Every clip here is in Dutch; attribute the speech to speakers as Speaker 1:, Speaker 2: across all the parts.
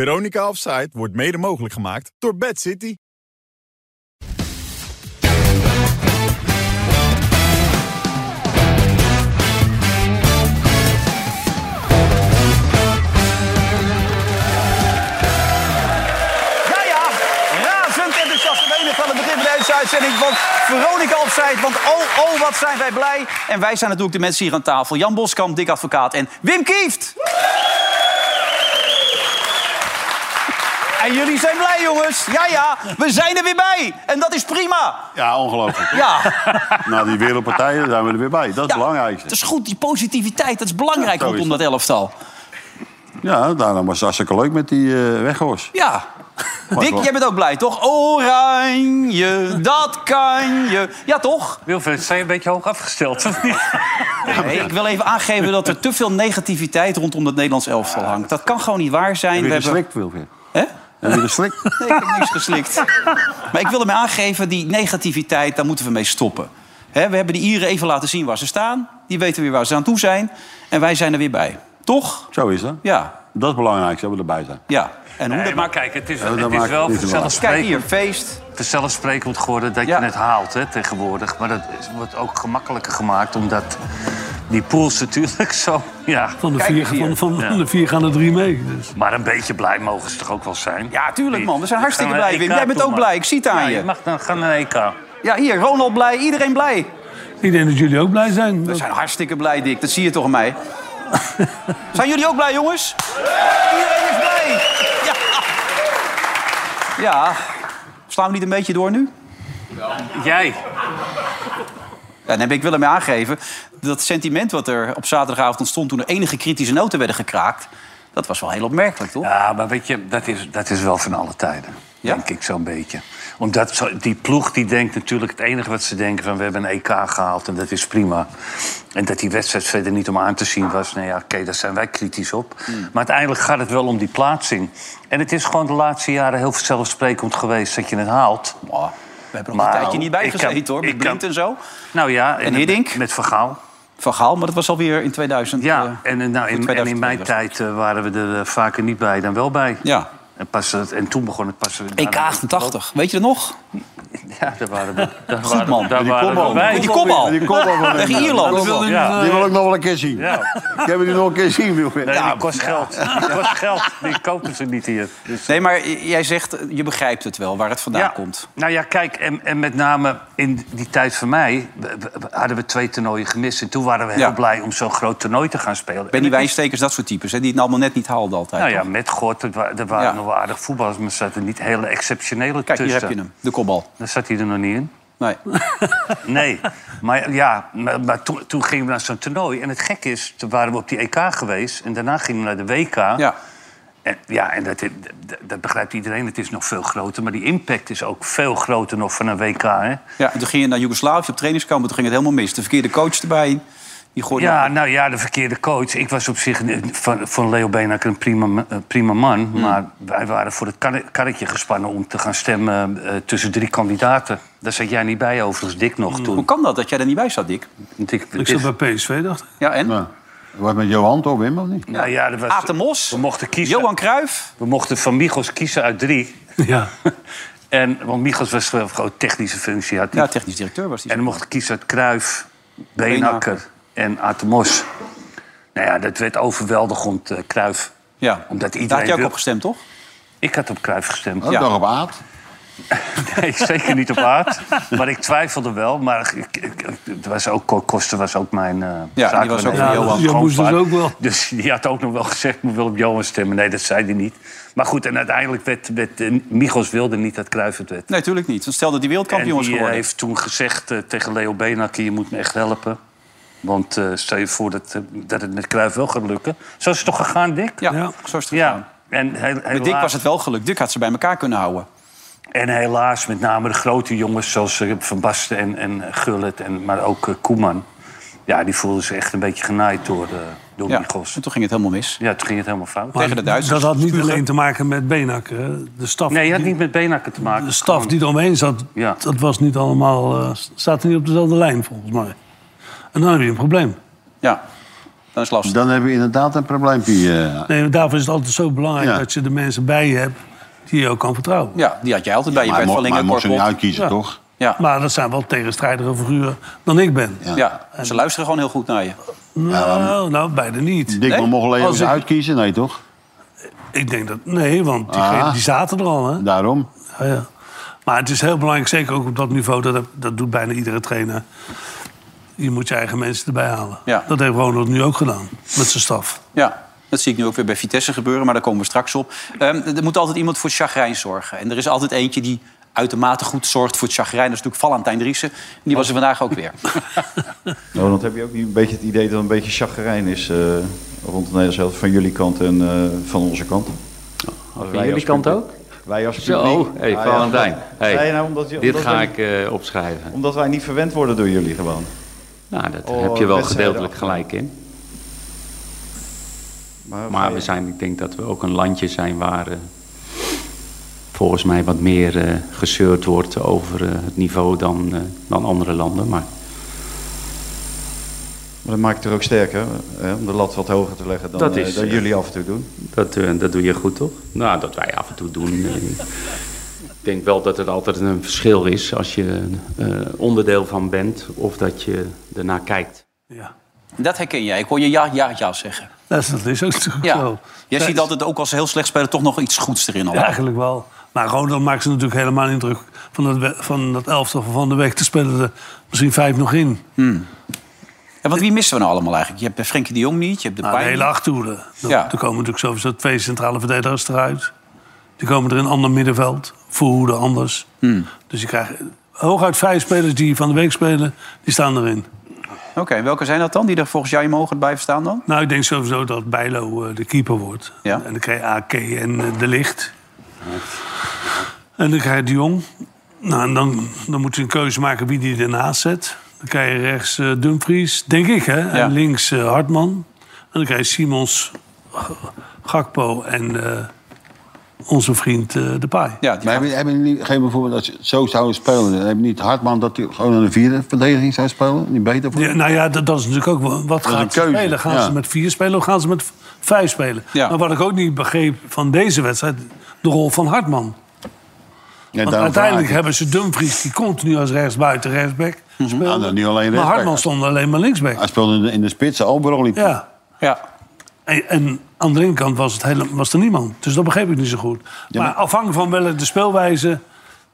Speaker 1: Veronica Offside wordt mede mogelijk gemaakt door Bad City.
Speaker 2: Ja, ja, razend enthousiast op enig van het begin van deze uitzending. Want Veronica opzijt, want oh, oh, wat zijn wij blij. En wij zijn natuurlijk de mensen hier aan tafel. Jan Boskamp, Dick Advocaat en Wim Kieft. En jullie zijn blij, jongens. Ja, ja, we zijn er weer bij. En dat is prima.
Speaker 3: Ja, ongelooflijk.
Speaker 2: Ja,
Speaker 3: Na die wereldpartijen zijn we er weer bij. Dat is het
Speaker 2: ja, Dus-
Speaker 3: belangrijkste.
Speaker 2: het is goed. Die positiviteit, dat is belangrijk
Speaker 3: Ja, zo is
Speaker 2: rondom
Speaker 3: het.
Speaker 2: dat elftal.
Speaker 3: Ja, daarom was het hartstikke leuk met die eh weghorst.
Speaker 2: Ja. Dick,
Speaker 3: wel.
Speaker 2: jij bent ook blij, toch? Oranje, dat kan je. Ja, toch?
Speaker 4: Wilfred, zijn je een beetje hoog afgesteld?
Speaker 2: Nee, ik wil even aangeven dat er te veel negativiteit rondom het Nederlands elftal hangt. Dat kan gewoon niet waar zijn.
Speaker 3: Heb je
Speaker 2: hebben...
Speaker 3: geslikt, Wilfried?
Speaker 2: Hè?
Speaker 3: Heb je geslikt?
Speaker 2: Nee, ik heb niks geslikt. Maar ik wil ermee aangeven, die negativiteit, daar moeten we mee stoppen. Hè, we hebben de Ieren even laten zien waar ze staan. Die weten weer waar ze aan toe zijn. En wij zijn er weer bij. Toch?
Speaker 3: Zo is dat.
Speaker 2: Ja,
Speaker 3: Dat is het belangrijkste, dat we erbij zijn.
Speaker 2: ja. En hoe
Speaker 4: Nee,
Speaker 2: dat
Speaker 4: maar
Speaker 2: maakt...
Speaker 4: kijk, het is,
Speaker 3: dat
Speaker 4: het is
Speaker 3: maakt
Speaker 4: wel
Speaker 3: niet te
Speaker 2: Kijk
Speaker 4: vanzelfsprekend,
Speaker 2: hier, feest.
Speaker 4: vanzelfsprekend geworden dat
Speaker 2: Ja.
Speaker 4: je het haalt hè, tegenwoordig. Maar dat is- wordt ook gemakkelijker gemaakt, omdat die pools natuurlijk zo... Ja,
Speaker 5: Van de,
Speaker 2: Kijk
Speaker 5: vier,
Speaker 2: eens hier.
Speaker 5: van, van,
Speaker 4: Ja.
Speaker 5: van de vier gaan er drie mee. Dus.
Speaker 4: maar een beetje blij mogen ze toch ook wel zijn?
Speaker 2: Ja, tuurlijk, man. We zijn
Speaker 4: Ik
Speaker 2: hartstikke
Speaker 4: ga naar
Speaker 2: blij,
Speaker 4: EK
Speaker 2: Wim. Jij bent
Speaker 4: toe,
Speaker 2: ook
Speaker 4: man.
Speaker 2: blij. Ik zie het aan
Speaker 4: Ja,
Speaker 2: je.
Speaker 4: je mag dan gaan naar E EK.
Speaker 2: Ja, hier, Ronald blij, iedereen blij.
Speaker 5: Ik denk dat jullie ook blij zijn.
Speaker 2: We
Speaker 5: Dat-
Speaker 2: zijn hartstikke blij, Dick. Dat zie je toch aan mij. zijn jullie ook blij, jongens? Iedereen is blij. Ja. ja. Slaan we niet een beetje door nu?
Speaker 4: Jij?
Speaker 2: Ja, dan heb ik willen mee aangeven. Dat sentiment wat er op zaterdagavond ontstond... toen er enige kritische noten werden gekraakt... dat was wel heel opmerkelijk, toch?
Speaker 4: Ja, maar weet je, dat is, dat is wel van alle tijden.
Speaker 2: Ja?
Speaker 4: Denk ik zo'n beetje. Omdat zo- die ploeg die denkt natuurlijk het enige wat ze denken van... we hebben een EK gehaald en dat is prima. En dat die wedstrijd verder niet om aan te zien was. Nou ja, oké, daar zijn wij kritisch op.
Speaker 2: Hmm.
Speaker 4: Maar uiteindelijk gaat het wel om die plaatsing. En het is gewoon de laatste jaren heel vanzelfsprekend geweest dat je het haalt.
Speaker 2: Oh, we hebben er nog
Speaker 4: Maar
Speaker 2: een tijdje niet bij
Speaker 4: ik kan-
Speaker 2: gezeten, hoor. Met
Speaker 4: ik kan-
Speaker 2: Blind en zo.
Speaker 4: Nou ja, en,
Speaker 2: Hiddink?
Speaker 4: met Vergaal.
Speaker 2: Van Gaal, maar dat was alweer in 2000. eh,
Speaker 4: Ja, en, eh, nou, in, en in
Speaker 2: 2002
Speaker 4: mijn
Speaker 2: was
Speaker 4: tijd eh, waren we er eh, vaker niet bij dan wel bij.
Speaker 2: Ja. E
Speaker 4: En, pas, dat- en toen begon het pas...
Speaker 2: EK 88, weet je dat nog?
Speaker 4: Ja, daar waren we, daar
Speaker 2: Goed,
Speaker 4: waren,
Speaker 2: man.
Speaker 4: Daar
Speaker 2: Die
Speaker 4: waren
Speaker 2: kopbal.
Speaker 4: we bij.
Speaker 2: Die kopbal.
Speaker 3: Die kopbal van
Speaker 2: Tegen
Speaker 3: hem.
Speaker 2: Ierland.
Speaker 4: Ja.
Speaker 3: Die wil ik nog wel een keer zien. Ik heb die nog een keer zien, Wilfried.
Speaker 4: Nee,
Speaker 3: Ja,
Speaker 4: die kost geld. Die kost geld. Die kopen ze niet hier. Dus,
Speaker 2: Nee, maar jij zegt, eh, je begrijpt het wel waar het vandaan
Speaker 4: ja.
Speaker 2: komt.
Speaker 4: Nou ja, kijk, en, en met name in die tijd van mij... we- we- hadden we twee toernooien gemist. En toen waren we heel
Speaker 2: Ja.
Speaker 4: blij om zo'n groot toernooi te gaan spelen. En
Speaker 2: Benny
Speaker 4: het is-
Speaker 2: Wijnstekers, dat soort types, hè, die het allemaal net niet haalden altijd.
Speaker 4: Nou ja,
Speaker 2: toch?
Speaker 4: met God, er wa- er waren
Speaker 2: Ja.
Speaker 4: nog wel aardig voetballers... maar er zaten niet hele exceptionele
Speaker 2: Kijk, hier
Speaker 4: tussen.
Speaker 2: heb je hem, de kopbal.
Speaker 4: Dan zat hij er nog niet in.
Speaker 2: Nee.
Speaker 4: Nee, maar ja, maar, maar toen, toen gingen we naar zo'n toernooi. En het gek is, toen waren we op die EK geweest... en daarna gingen we naar de WK...
Speaker 2: Ja.
Speaker 4: En, ja, en dat, dat, dat begrijpt iedereen. Het is nog veel groter. Maar die impact is ook veel groter nog van een WK. Hè?
Speaker 2: ja, en toen ging je naar Joegoslavië op trainingskamp, en toen ging het helemaal mis. De verkeerde coach erbij, die gooide...
Speaker 4: Ja, nou ja, de verkeerde coach. Ik was op zich eh, van, van Leo Benak een prima, ma- een prima man.
Speaker 2: Hmm.
Speaker 4: Maar wij waren voor het karre- karretje gespannen om te gaan stemmen eh, tussen drie kandidaten. Daar zat jij niet bij, overigens, Dick nog
Speaker 2: Hoe
Speaker 4: toen.
Speaker 2: kan dat, dat jij er niet bij Hmm. zat, Dick?
Speaker 4: Want Ik,
Speaker 5: Ik zat bij PSV, dacht ik.
Speaker 2: Ja, en?
Speaker 3: Nou, Wat met Johan toch, Wim, of niet?
Speaker 4: nou ja, dat was,
Speaker 2: Aad de Mos,
Speaker 4: We mochten kiezen.
Speaker 2: Johan Cruijff.
Speaker 4: We mochten van Michels kiezen uit drie.
Speaker 5: Ja.
Speaker 4: En, want Michels was wel gewoon technische functie. Had niet
Speaker 2: Ja, technisch directeur was die.
Speaker 4: En dan mocht ik kiezen uit Kruif, Beenakker en Atemos. Nou ja, dat werd overweldigend, eh Kruif.
Speaker 2: ja.
Speaker 4: Omdat
Speaker 2: Daar had
Speaker 4: iedereen
Speaker 2: jij ook
Speaker 4: wil-
Speaker 2: op gestemd, toch?
Speaker 4: Ik had op Kruif gestemd.
Speaker 3: Ook
Speaker 2: Ja.
Speaker 3: nog op aard.
Speaker 4: Nee, zeker niet op Aard. maar ik twijfelde wel. Maar ik, ik- ik- het was ook, Cor Koster was ook mijn eh
Speaker 2: die
Speaker 4: zakenleider.
Speaker 2: was ook van
Speaker 4: Ja,
Speaker 2: Johan.
Speaker 4: dat is
Speaker 5: Ja, moest dus
Speaker 4: grootvader.
Speaker 5: ook wel.
Speaker 4: Dus die had ook nog wel gezegd, moet wel op Johan stemmen. Nee, dat zei hij niet. Maar goed, en uiteindelijk werd... werd eh, Michels wilde niet dat Kruif het werd.
Speaker 2: Nee, natuurlijk niet. Dan stelde die
Speaker 4: En
Speaker 2: wereldkampioen was
Speaker 4: die eh,
Speaker 2: geworden.
Speaker 4: heeft toen gezegd eh, tegen Leo Beenakker... je moet me echt helpen. Want eh, stel je voor dat, eh, dat het met Cruijff wel gaat lukken. Zo is het toch gegaan, Dick?
Speaker 2: Ja,
Speaker 5: Ja.
Speaker 2: zo is het gegaan.
Speaker 4: Ja. En, he-
Speaker 2: Met
Speaker 4: helaas,
Speaker 2: Dick was het wel gelukt. Dick had ze bij elkaar kunnen houden.
Speaker 4: en helaas met name de grote jongens zoals eh, Van Basten en, en Gullit... En, maar ook eh, Koeman. Ja, die voelden zich echt een beetje genaaid door, eh door
Speaker 2: Ja.
Speaker 4: Michels.
Speaker 2: En toen ging het helemaal mis.
Speaker 4: Ja, toen ging het helemaal fout.
Speaker 2: Tegen de Duitsers.
Speaker 5: Dat had niet alleen te maken met Benak. hè. De staf,
Speaker 4: Nee, je had
Speaker 5: die,
Speaker 4: niet met Beenakker te maken.
Speaker 5: de staf die eromheen zat,
Speaker 4: Ja.
Speaker 5: dat was niet allemaal, eh, zaten niet op dezelfde lijn volgens mij. En dan heb je een probleem.
Speaker 2: Ja. Dan is het lastig.
Speaker 3: Dan heb je inderdaad een probleempje. eh.
Speaker 5: Nee, want daarvoor is het altijd zo belangrijk
Speaker 3: Ja.
Speaker 5: dat je de mensen bij je hebt die je ook kan vertrouwen.
Speaker 2: Ja, die had jij altijd bij je
Speaker 3: maar hij
Speaker 2: Bert
Speaker 3: mo-
Speaker 2: van
Speaker 3: maar hij mocht
Speaker 2: Lingen,
Speaker 3: ze
Speaker 2: Korpel.
Speaker 3: niet uitkiezen,
Speaker 5: Ja.
Speaker 3: toch?
Speaker 2: Ja.
Speaker 5: Maar dat zijn wel tegenstrijdige figuren dan ik ben.
Speaker 2: Ja, ze luisteren gewoon heel goed naar je.
Speaker 5: Nou, nou, beide niet.
Speaker 3: Dick
Speaker 2: Nee?
Speaker 3: nee? mocht alleen
Speaker 5: Als ik-
Speaker 3: uitkiezen, nee toch?
Speaker 5: Ik denk dat... Nee, want die,
Speaker 3: Ah.
Speaker 5: die zaten er al, hè?
Speaker 3: Daarom.
Speaker 5: Ja, Oh ja. Maar het is heel belangrijk, zeker ook op dat niveau, dat, dat doet bijna iedere trainer. Je moet je eigen mensen erbij halen.
Speaker 2: Ja.
Speaker 5: Dat heeft Ronald nu ook gedaan, met zijn staf.
Speaker 2: Ja, dat zie ik nu ook weer bij Vitesse gebeuren, maar daar komen we straks op. Ehm, er moet altijd iemand voor chagrijn zorgen. En er is altijd eentje die uitermate goed zorgt voor het chagrijn. Dat is natuurlijk Valentijn Driessen. En Die was er vandaag ook weer.
Speaker 6: Ronald, heb je ook niet een beetje het idee dat er een beetje chagrijn is eh, rond de Nederlandse helft van jullie kant en eh, van onze kant? Van
Speaker 7: jullie kant ook?
Speaker 6: Wij als publiek. Ah,
Speaker 7: Zo, hey,
Speaker 6: Ja, ja,
Speaker 7: Valentijn.
Speaker 6: zei
Speaker 7: Hey,
Speaker 6: je nou omdat je-
Speaker 7: dit
Speaker 6: omdat
Speaker 7: ga
Speaker 6: wij-
Speaker 7: ik eh, opschrijven.
Speaker 6: Omdat wij niet verwend worden door jullie gewoon.
Speaker 7: Nou, dat
Speaker 6: Oh,
Speaker 7: heb je wel
Speaker 6: wedstrijden
Speaker 7: gedeeltelijk
Speaker 6: afgelopen.
Speaker 7: gelijk in.
Speaker 6: Maar,
Speaker 7: Maar we zijn, ik denk dat we ook een landje zijn waar eh, volgens mij wat meer eh, gezeurd wordt over eh, het niveau dan, eh, dan andere landen. Maar
Speaker 6: maar dat maakt het er ook sterker, hè, om de lat wat hoger te leggen dan,
Speaker 7: Dat
Speaker 6: eh,
Speaker 7: is,
Speaker 6: dan
Speaker 7: eh,
Speaker 6: jullie af en toe doen.
Speaker 7: dat, eh, dat doe je goed, toch? Nou, dat wij af en toe doen. eh, ik denk wel dat het altijd een verschil is als je eh, onderdeel van bent of dat je ernaar kijkt.
Speaker 5: Ja.
Speaker 2: Dat herken jij. Ik hoor je ja, ja, ja zeggen.
Speaker 5: Dat, is, dat is ook natuurlijk
Speaker 2: Ja.
Speaker 5: zo.
Speaker 2: Jij
Speaker 5: Dat
Speaker 2: ziet
Speaker 5: is
Speaker 2: altijd ook als ze heel slecht spelen toch nog iets goeds erin. Al.
Speaker 5: Eigenlijk wel. Maar Ronald maakt ze natuurlijk helemaal niet druk van dat, we- van dat elftal van Van de Weg. Te spelen er misschien vijf nog in.
Speaker 2: Ja, want wie missen we nou allemaal eigenlijk? Je hebt eh, Frenkie de Jong niet, je hebt de
Speaker 5: Nou, de
Speaker 2: Pijn.
Speaker 5: hele achterhoede. Dan,
Speaker 2: Ja.
Speaker 5: Er komen natuurlijk sowieso twee centrale verdedigers eruit. Die komen er in een ander middenveld. Voorhoede anders.
Speaker 2: Hmm.
Speaker 5: Dus je krijgt hooguit vijf spelers die van de week spelen, die staan erin.
Speaker 2: Oké, welke zijn dat dan die er volgens jou mogen bij staan dan?
Speaker 5: Nou, ik denk sowieso dat Bijlo eh, de keeper wordt.
Speaker 2: Ja.
Speaker 5: En dan krijg je AK en eh, De Licht. En dan krijg je de Jong. Nou, en dan, dan moet je een keuze maken wie die ernaast zet. Dan krijg je rechts eh, Dumfries, denk ik, hè?
Speaker 2: Ja.
Speaker 5: En links eh, Hartman. En dan krijg je Simons, G- Gakpo en eh, onze vriend eh Depay.
Speaker 2: Ja, die
Speaker 3: Maar hebben, hebben jullie geen bijvoorbeeld, als je zo zou spelen, dan heb je niet Hartman dat hij gewoon aan de vierde verdediging zou spelen? Niet beter voor?
Speaker 5: Ja, nou ja, dat, dat is natuurlijk ook wel- wat
Speaker 3: is een
Speaker 5: gaat ze
Speaker 3: keuze,
Speaker 5: spelen. Gaan
Speaker 3: ja.
Speaker 5: ze met vier spelen of gaan ze met v- vijf spelen?
Speaker 2: Ja.
Speaker 5: Maar wat ik ook niet begreep van deze wedstrijd, de rol van Hartman.
Speaker 3: Ja,
Speaker 5: Want
Speaker 3: daarom vraag
Speaker 5: uiteindelijk
Speaker 3: ik.
Speaker 5: hebben ze Dumfries, die continu als rechtsbuiten, rechtsback speelde.
Speaker 3: Ah, dan niet alleen
Speaker 5: maar
Speaker 3: rechtsback.
Speaker 5: Hartman stond alleen maar linksback.
Speaker 3: Hij speelde in de, in de spits, Alberol
Speaker 5: Ja.
Speaker 2: Ja.
Speaker 5: En, en aan de linkerkant was, het hele, was er niemand. Dus dat begreep ik niet zo goed. maar, afhankelijk van welke de speelwijze...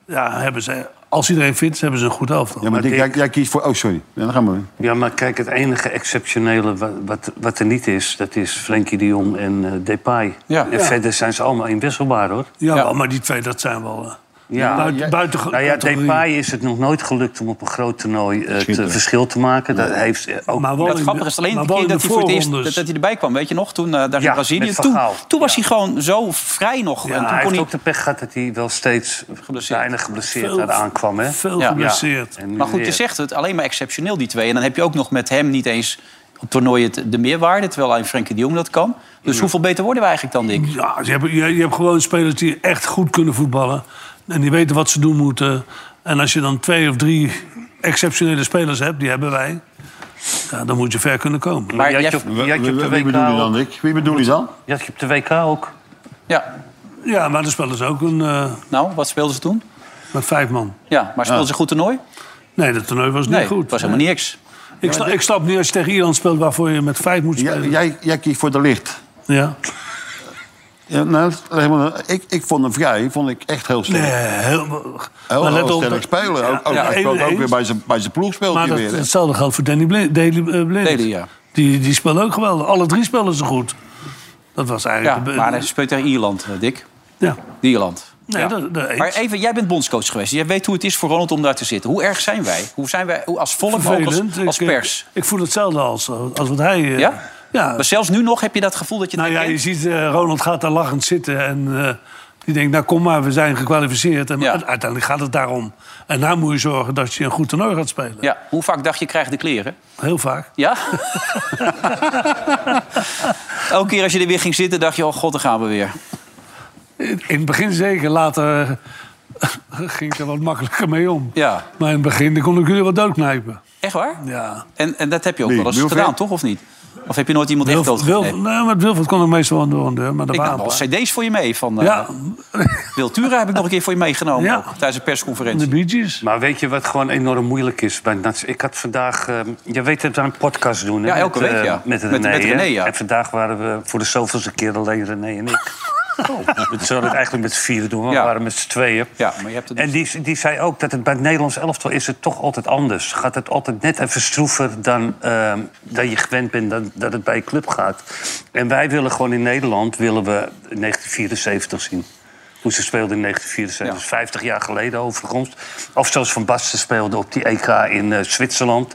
Speaker 5: Ja, hebben ze, als iedereen fit is, hebben ze een goed elftal.
Speaker 3: Ja, maar Dick, jij, jij kiest voor... Oh, sorry. Ja, dan gaan we weer.
Speaker 4: Ja, maar kijk, het enige exceptionele wat, wat, wat er niet is... dat is Frenkie de Jong en eh, Depay.
Speaker 2: Ja.
Speaker 4: En
Speaker 2: Ja.
Speaker 4: verder zijn ze allemaal inwisselbaar, hoor.
Speaker 5: ja,
Speaker 2: Ja.
Speaker 5: maar die twee, dat zijn wel... eh,
Speaker 4: Ja,
Speaker 5: buiten,
Speaker 4: jij-
Speaker 5: buiten
Speaker 4: Nou ja,
Speaker 5: categorie.
Speaker 4: Depay is het nog nooit gelukt om op een groot toernooi eh, het eh, verschil te maken. Dat heeft eh, ook...
Speaker 5: Maar wel
Speaker 2: Dat
Speaker 5: in-
Speaker 2: grappige is alleen
Speaker 5: maar
Speaker 2: de
Speaker 5: wel
Speaker 2: keer
Speaker 5: in
Speaker 2: dat
Speaker 5: de
Speaker 2: hij voor het eerst dat,
Speaker 5: voorrondes.
Speaker 2: dat hij erbij kwam. Weet je nog? Toen eh, daar in
Speaker 4: Ja,
Speaker 2: Brazilië.
Speaker 4: met Van
Speaker 2: Toen,
Speaker 4: Gaal.
Speaker 2: toen was hij gewoon zo vrij nog.
Speaker 4: Ja,
Speaker 2: en toen
Speaker 4: hij
Speaker 2: kon
Speaker 4: heeft
Speaker 2: hij...
Speaker 4: ook de pech gehad dat hij wel steeds
Speaker 2: Geblesseerd.
Speaker 4: weinig geblesseerd
Speaker 5: Veel-
Speaker 4: aan aankwam. Hè?
Speaker 5: Veel
Speaker 2: Ja.
Speaker 5: geblesseerd.
Speaker 4: Ja, en nu
Speaker 2: Maar goed,
Speaker 4: weer.
Speaker 2: je zegt het. Alleen maar exceptioneel die twee. En dan heb je ook nog met hem niet eens op toernooi het- de meerwaarde. Terwijl alleen Frenkie de Jong dat kan. Dus hoeveel beter worden we eigenlijk dan, Dick?
Speaker 5: Ja, je hebt, je, je hebt gewoon spelers die echt goed kunnen voetballen. En die weten wat ze doen moeten. En als je dan twee of drie exceptionele spelers hebt, die hebben wij. Ja, dan moet je ver kunnen komen.
Speaker 2: Maar
Speaker 4: Je
Speaker 2: jij-
Speaker 4: had je op-
Speaker 3: Wie,
Speaker 4: je had je op de
Speaker 3: wie- wie
Speaker 4: WK
Speaker 3: bedoel je
Speaker 4: ook-
Speaker 3: dan, Dick? Wie bedoel je dan?
Speaker 4: je had je op de WK ook.
Speaker 2: Ja,
Speaker 5: Ja, maar de spelers ook een, eh,
Speaker 2: nou, wat speelden ze toen?
Speaker 5: met vijf man.
Speaker 2: Ja, maar speelden ze goed toernooi?
Speaker 5: Nee, dat toernooi was niet
Speaker 2: Nee,
Speaker 5: goed.
Speaker 2: het was helemaal niks.
Speaker 5: Ik, sta, ik snap niet als je tegen Ierland speelt waarvoor je met vijf moet
Speaker 3: Jij,
Speaker 5: spelen. Ja,
Speaker 3: jij, jij kiest voor de licht. Ja, nou, leg maar- ik, ik vond hem vrij vond ik echt heel sterk.
Speaker 5: Nee, heel,
Speaker 3: Heel,
Speaker 5: maar let
Speaker 3: heel
Speaker 5: op
Speaker 3: sterk
Speaker 5: dat-
Speaker 3: spelen. Ook, ook,
Speaker 5: ja,
Speaker 3: hij speelt ook
Speaker 5: eens.
Speaker 3: weer bij zijn, bij zijn ploeg speelt
Speaker 5: Maar
Speaker 3: hij
Speaker 5: dat,
Speaker 3: weer. hè?
Speaker 5: hetzelfde geldt voor Danny Blind. Daley, eh, Blind.
Speaker 2: Daley, ja.
Speaker 5: die, die spelen ook geweldig. Alle drie spelen ze goed. Dat was
Speaker 2: Ja,
Speaker 5: eigenlijk... de be-
Speaker 2: maar hij speelt tegen Ierland, eh, Dick.
Speaker 5: ja.
Speaker 2: Ierland.
Speaker 5: Nee,
Speaker 2: Ja.
Speaker 5: dat, dat,
Speaker 2: Maar even, jij bent bondscoach geweest. Jij weet hoe het is voor Ronald om daar te zitten. Hoe erg zijn wij? Hoe zijn wij hoe als volk, maar ook als,
Speaker 5: vervelend.
Speaker 2: als
Speaker 5: Ik- eh,
Speaker 2: pers?
Speaker 5: Ik, ik voel hetzelfde als, als wat hij... eh,
Speaker 2: Ja?
Speaker 5: Ja.
Speaker 2: Maar zelfs nu nog heb je dat gevoel dat je het
Speaker 5: Nou ja, je
Speaker 2: herkent?
Speaker 5: ziet, eh, Ronald gaat daar lachend zitten en eh, die denkt, nou kom maar, we zijn gekwalificeerd. En
Speaker 2: Ja.
Speaker 5: u- uiteindelijk gaat het daarom. En daar moet je zorgen dat je een goed toernooi gaat spelen.
Speaker 2: Ja, hoe vaak dacht je krijgt de kleren?
Speaker 5: Heel vaak.
Speaker 2: Ja? Elke keer als je er weer ging zitten, dacht je, oh god, daar gaan we weer.
Speaker 5: In in het begin zeker, later eh, ging ik er wat makkelijker mee om.
Speaker 2: Ja.
Speaker 5: Maar in het begin dan kon ik jullie wat doodknijpen.
Speaker 2: Echt waar?
Speaker 5: Ja.
Speaker 2: En, en dat heb je ook
Speaker 3: Wie?
Speaker 2: wel eens
Speaker 3: Wilfred?
Speaker 2: gedaan, toch? Of niet? Of heb je nooit iemand echt
Speaker 5: Wilf, Wilf,
Speaker 2: doodgeknepen?
Speaker 5: nee, met Wilfred kon ik meestal wel door een deur. Maar dat
Speaker 2: Ik
Speaker 5: waren
Speaker 2: nam
Speaker 5: een
Speaker 2: wel
Speaker 5: paar.
Speaker 2: cd's voor je mee. Van eh
Speaker 5: Ja,
Speaker 2: Wiltura heb ik nog een keer voor je meegenomen.
Speaker 5: Ja.
Speaker 2: ook, tijdens een persconferentie.
Speaker 5: de Bee Gees.
Speaker 4: Maar weet je wat gewoon enorm moeilijk is? Bij Nats? Ik had vandaag... eh, je weet dat we een podcast doen, hè,
Speaker 2: Ja, elke
Speaker 4: met,
Speaker 2: week,
Speaker 4: eh,
Speaker 2: ja.
Speaker 4: Met
Speaker 2: Met-
Speaker 4: René,
Speaker 2: met René,
Speaker 4: hè?
Speaker 2: ja.
Speaker 4: En vandaag waren we voor de zoveelste keer alleen René en ik. We zouden het eigenlijk met z'n vieren doen, maar
Speaker 2: Oh. Ja.
Speaker 4: we waren met z'n tweeën.
Speaker 2: Ja, maar je hebt het
Speaker 4: En die, die zei ook dat het bij het Nederlands elftal is het toch altijd anders. Gaat het altijd net even stroever dan, ehm, dan je gewend bent dan, dat het bij je club gaat. En wij willen gewoon in Nederland willen we 1974 zien. Hoe ze speelden in 1974, 50 jaar geleden overigens. Of zoals Van Basten speelde op die EK in eh, Zwitserland.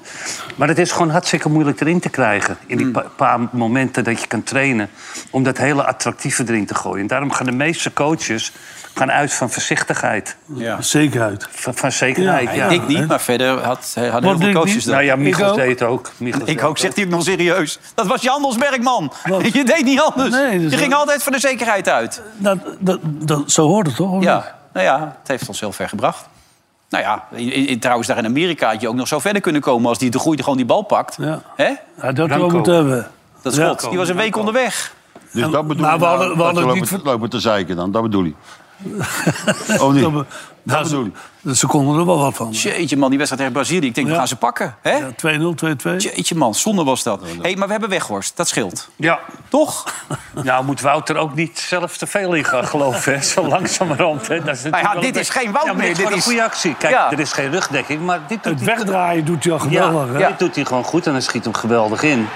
Speaker 4: Maar het is gewoon hartstikke moeilijk erin te krijgen. In die pa- paar momenten dat je kan trainen. Om dat hele attractieve erin te gooien. En daarom gaan de meeste coaches gaan uit van voorzichtigheid.
Speaker 2: Ja.
Speaker 5: Zekerheid.
Speaker 4: Van, van zekerheid, ja.
Speaker 2: ik niet, maar verder had, eh, hadden heel
Speaker 5: Wat
Speaker 2: veel
Speaker 5: denk
Speaker 2: coaches
Speaker 5: niet?
Speaker 2: dat.
Speaker 4: Nou ja, Michels
Speaker 5: ook.
Speaker 4: deed het ook. Michels deed
Speaker 2: Ik ook,
Speaker 4: het
Speaker 2: zegt hij het nog serieus. Dat was je handelsmerkman. Je deed niet anders.
Speaker 5: Nee, dus
Speaker 2: je ging
Speaker 5: dat-
Speaker 2: altijd van de zekerheid uit.
Speaker 5: Dat, Nou, dat, dat, zo hoort het toch? of niet?
Speaker 2: Ja, nou ja, het heeft ons heel ver gebracht. Nou ja, i- i- trouwens, daar in Amerika had je ook nog zo verder kunnen komen... als die de groei gewoon die bal pakt.
Speaker 5: Ja.
Speaker 2: Hè?
Speaker 5: Ja, dat we
Speaker 4: Branco.
Speaker 5: moeten hebben.
Speaker 2: Dat
Speaker 5: Ja.
Speaker 2: schot. Die was een week onderweg.
Speaker 3: Dus
Speaker 5: En-
Speaker 3: dat bedoel
Speaker 5: maar
Speaker 3: je
Speaker 5: we
Speaker 3: nou,
Speaker 5: hadden- we
Speaker 3: dat
Speaker 5: hadden
Speaker 3: je
Speaker 5: niet
Speaker 3: lopen, lopen te zeiken dan, dat bedoel je. of niet?
Speaker 5: Dat we- nou,
Speaker 3: bedoel
Speaker 5: ze, ze konden er wel wat van.
Speaker 2: Jeetje man, die wedstrijd tegen Brazilië. Ik denk, we
Speaker 5: Ja.
Speaker 2: gaan ze pakken. Hè?
Speaker 5: Ja, 2-0, 2-2.
Speaker 2: Jeetje man, zonde was dat. hey, maar we hebben Weghorst. Dat scheelt.
Speaker 4: ook. Ja,
Speaker 2: Toch?
Speaker 4: nou moet Wouter ook niet zelf te veel in gaan geloven. hè. Zo langzamerhand. Hè. Dat is
Speaker 2: Maar ja,
Speaker 4: natuurlijk wel
Speaker 2: dit
Speaker 4: een-
Speaker 2: is geen Wout
Speaker 4: Ja, maar
Speaker 2: meer,
Speaker 4: dit is
Speaker 2: dit
Speaker 4: gewoon een
Speaker 2: is-
Speaker 4: goede actie. Kijk,
Speaker 2: Ja.
Speaker 4: er is geen rugdekking, maar dit doet
Speaker 5: Het
Speaker 4: hij
Speaker 5: wegdraaien doet hij al geweldig. hè?
Speaker 4: Ja, dit doet hij gewoon goed en hij schiet hem geweldig in.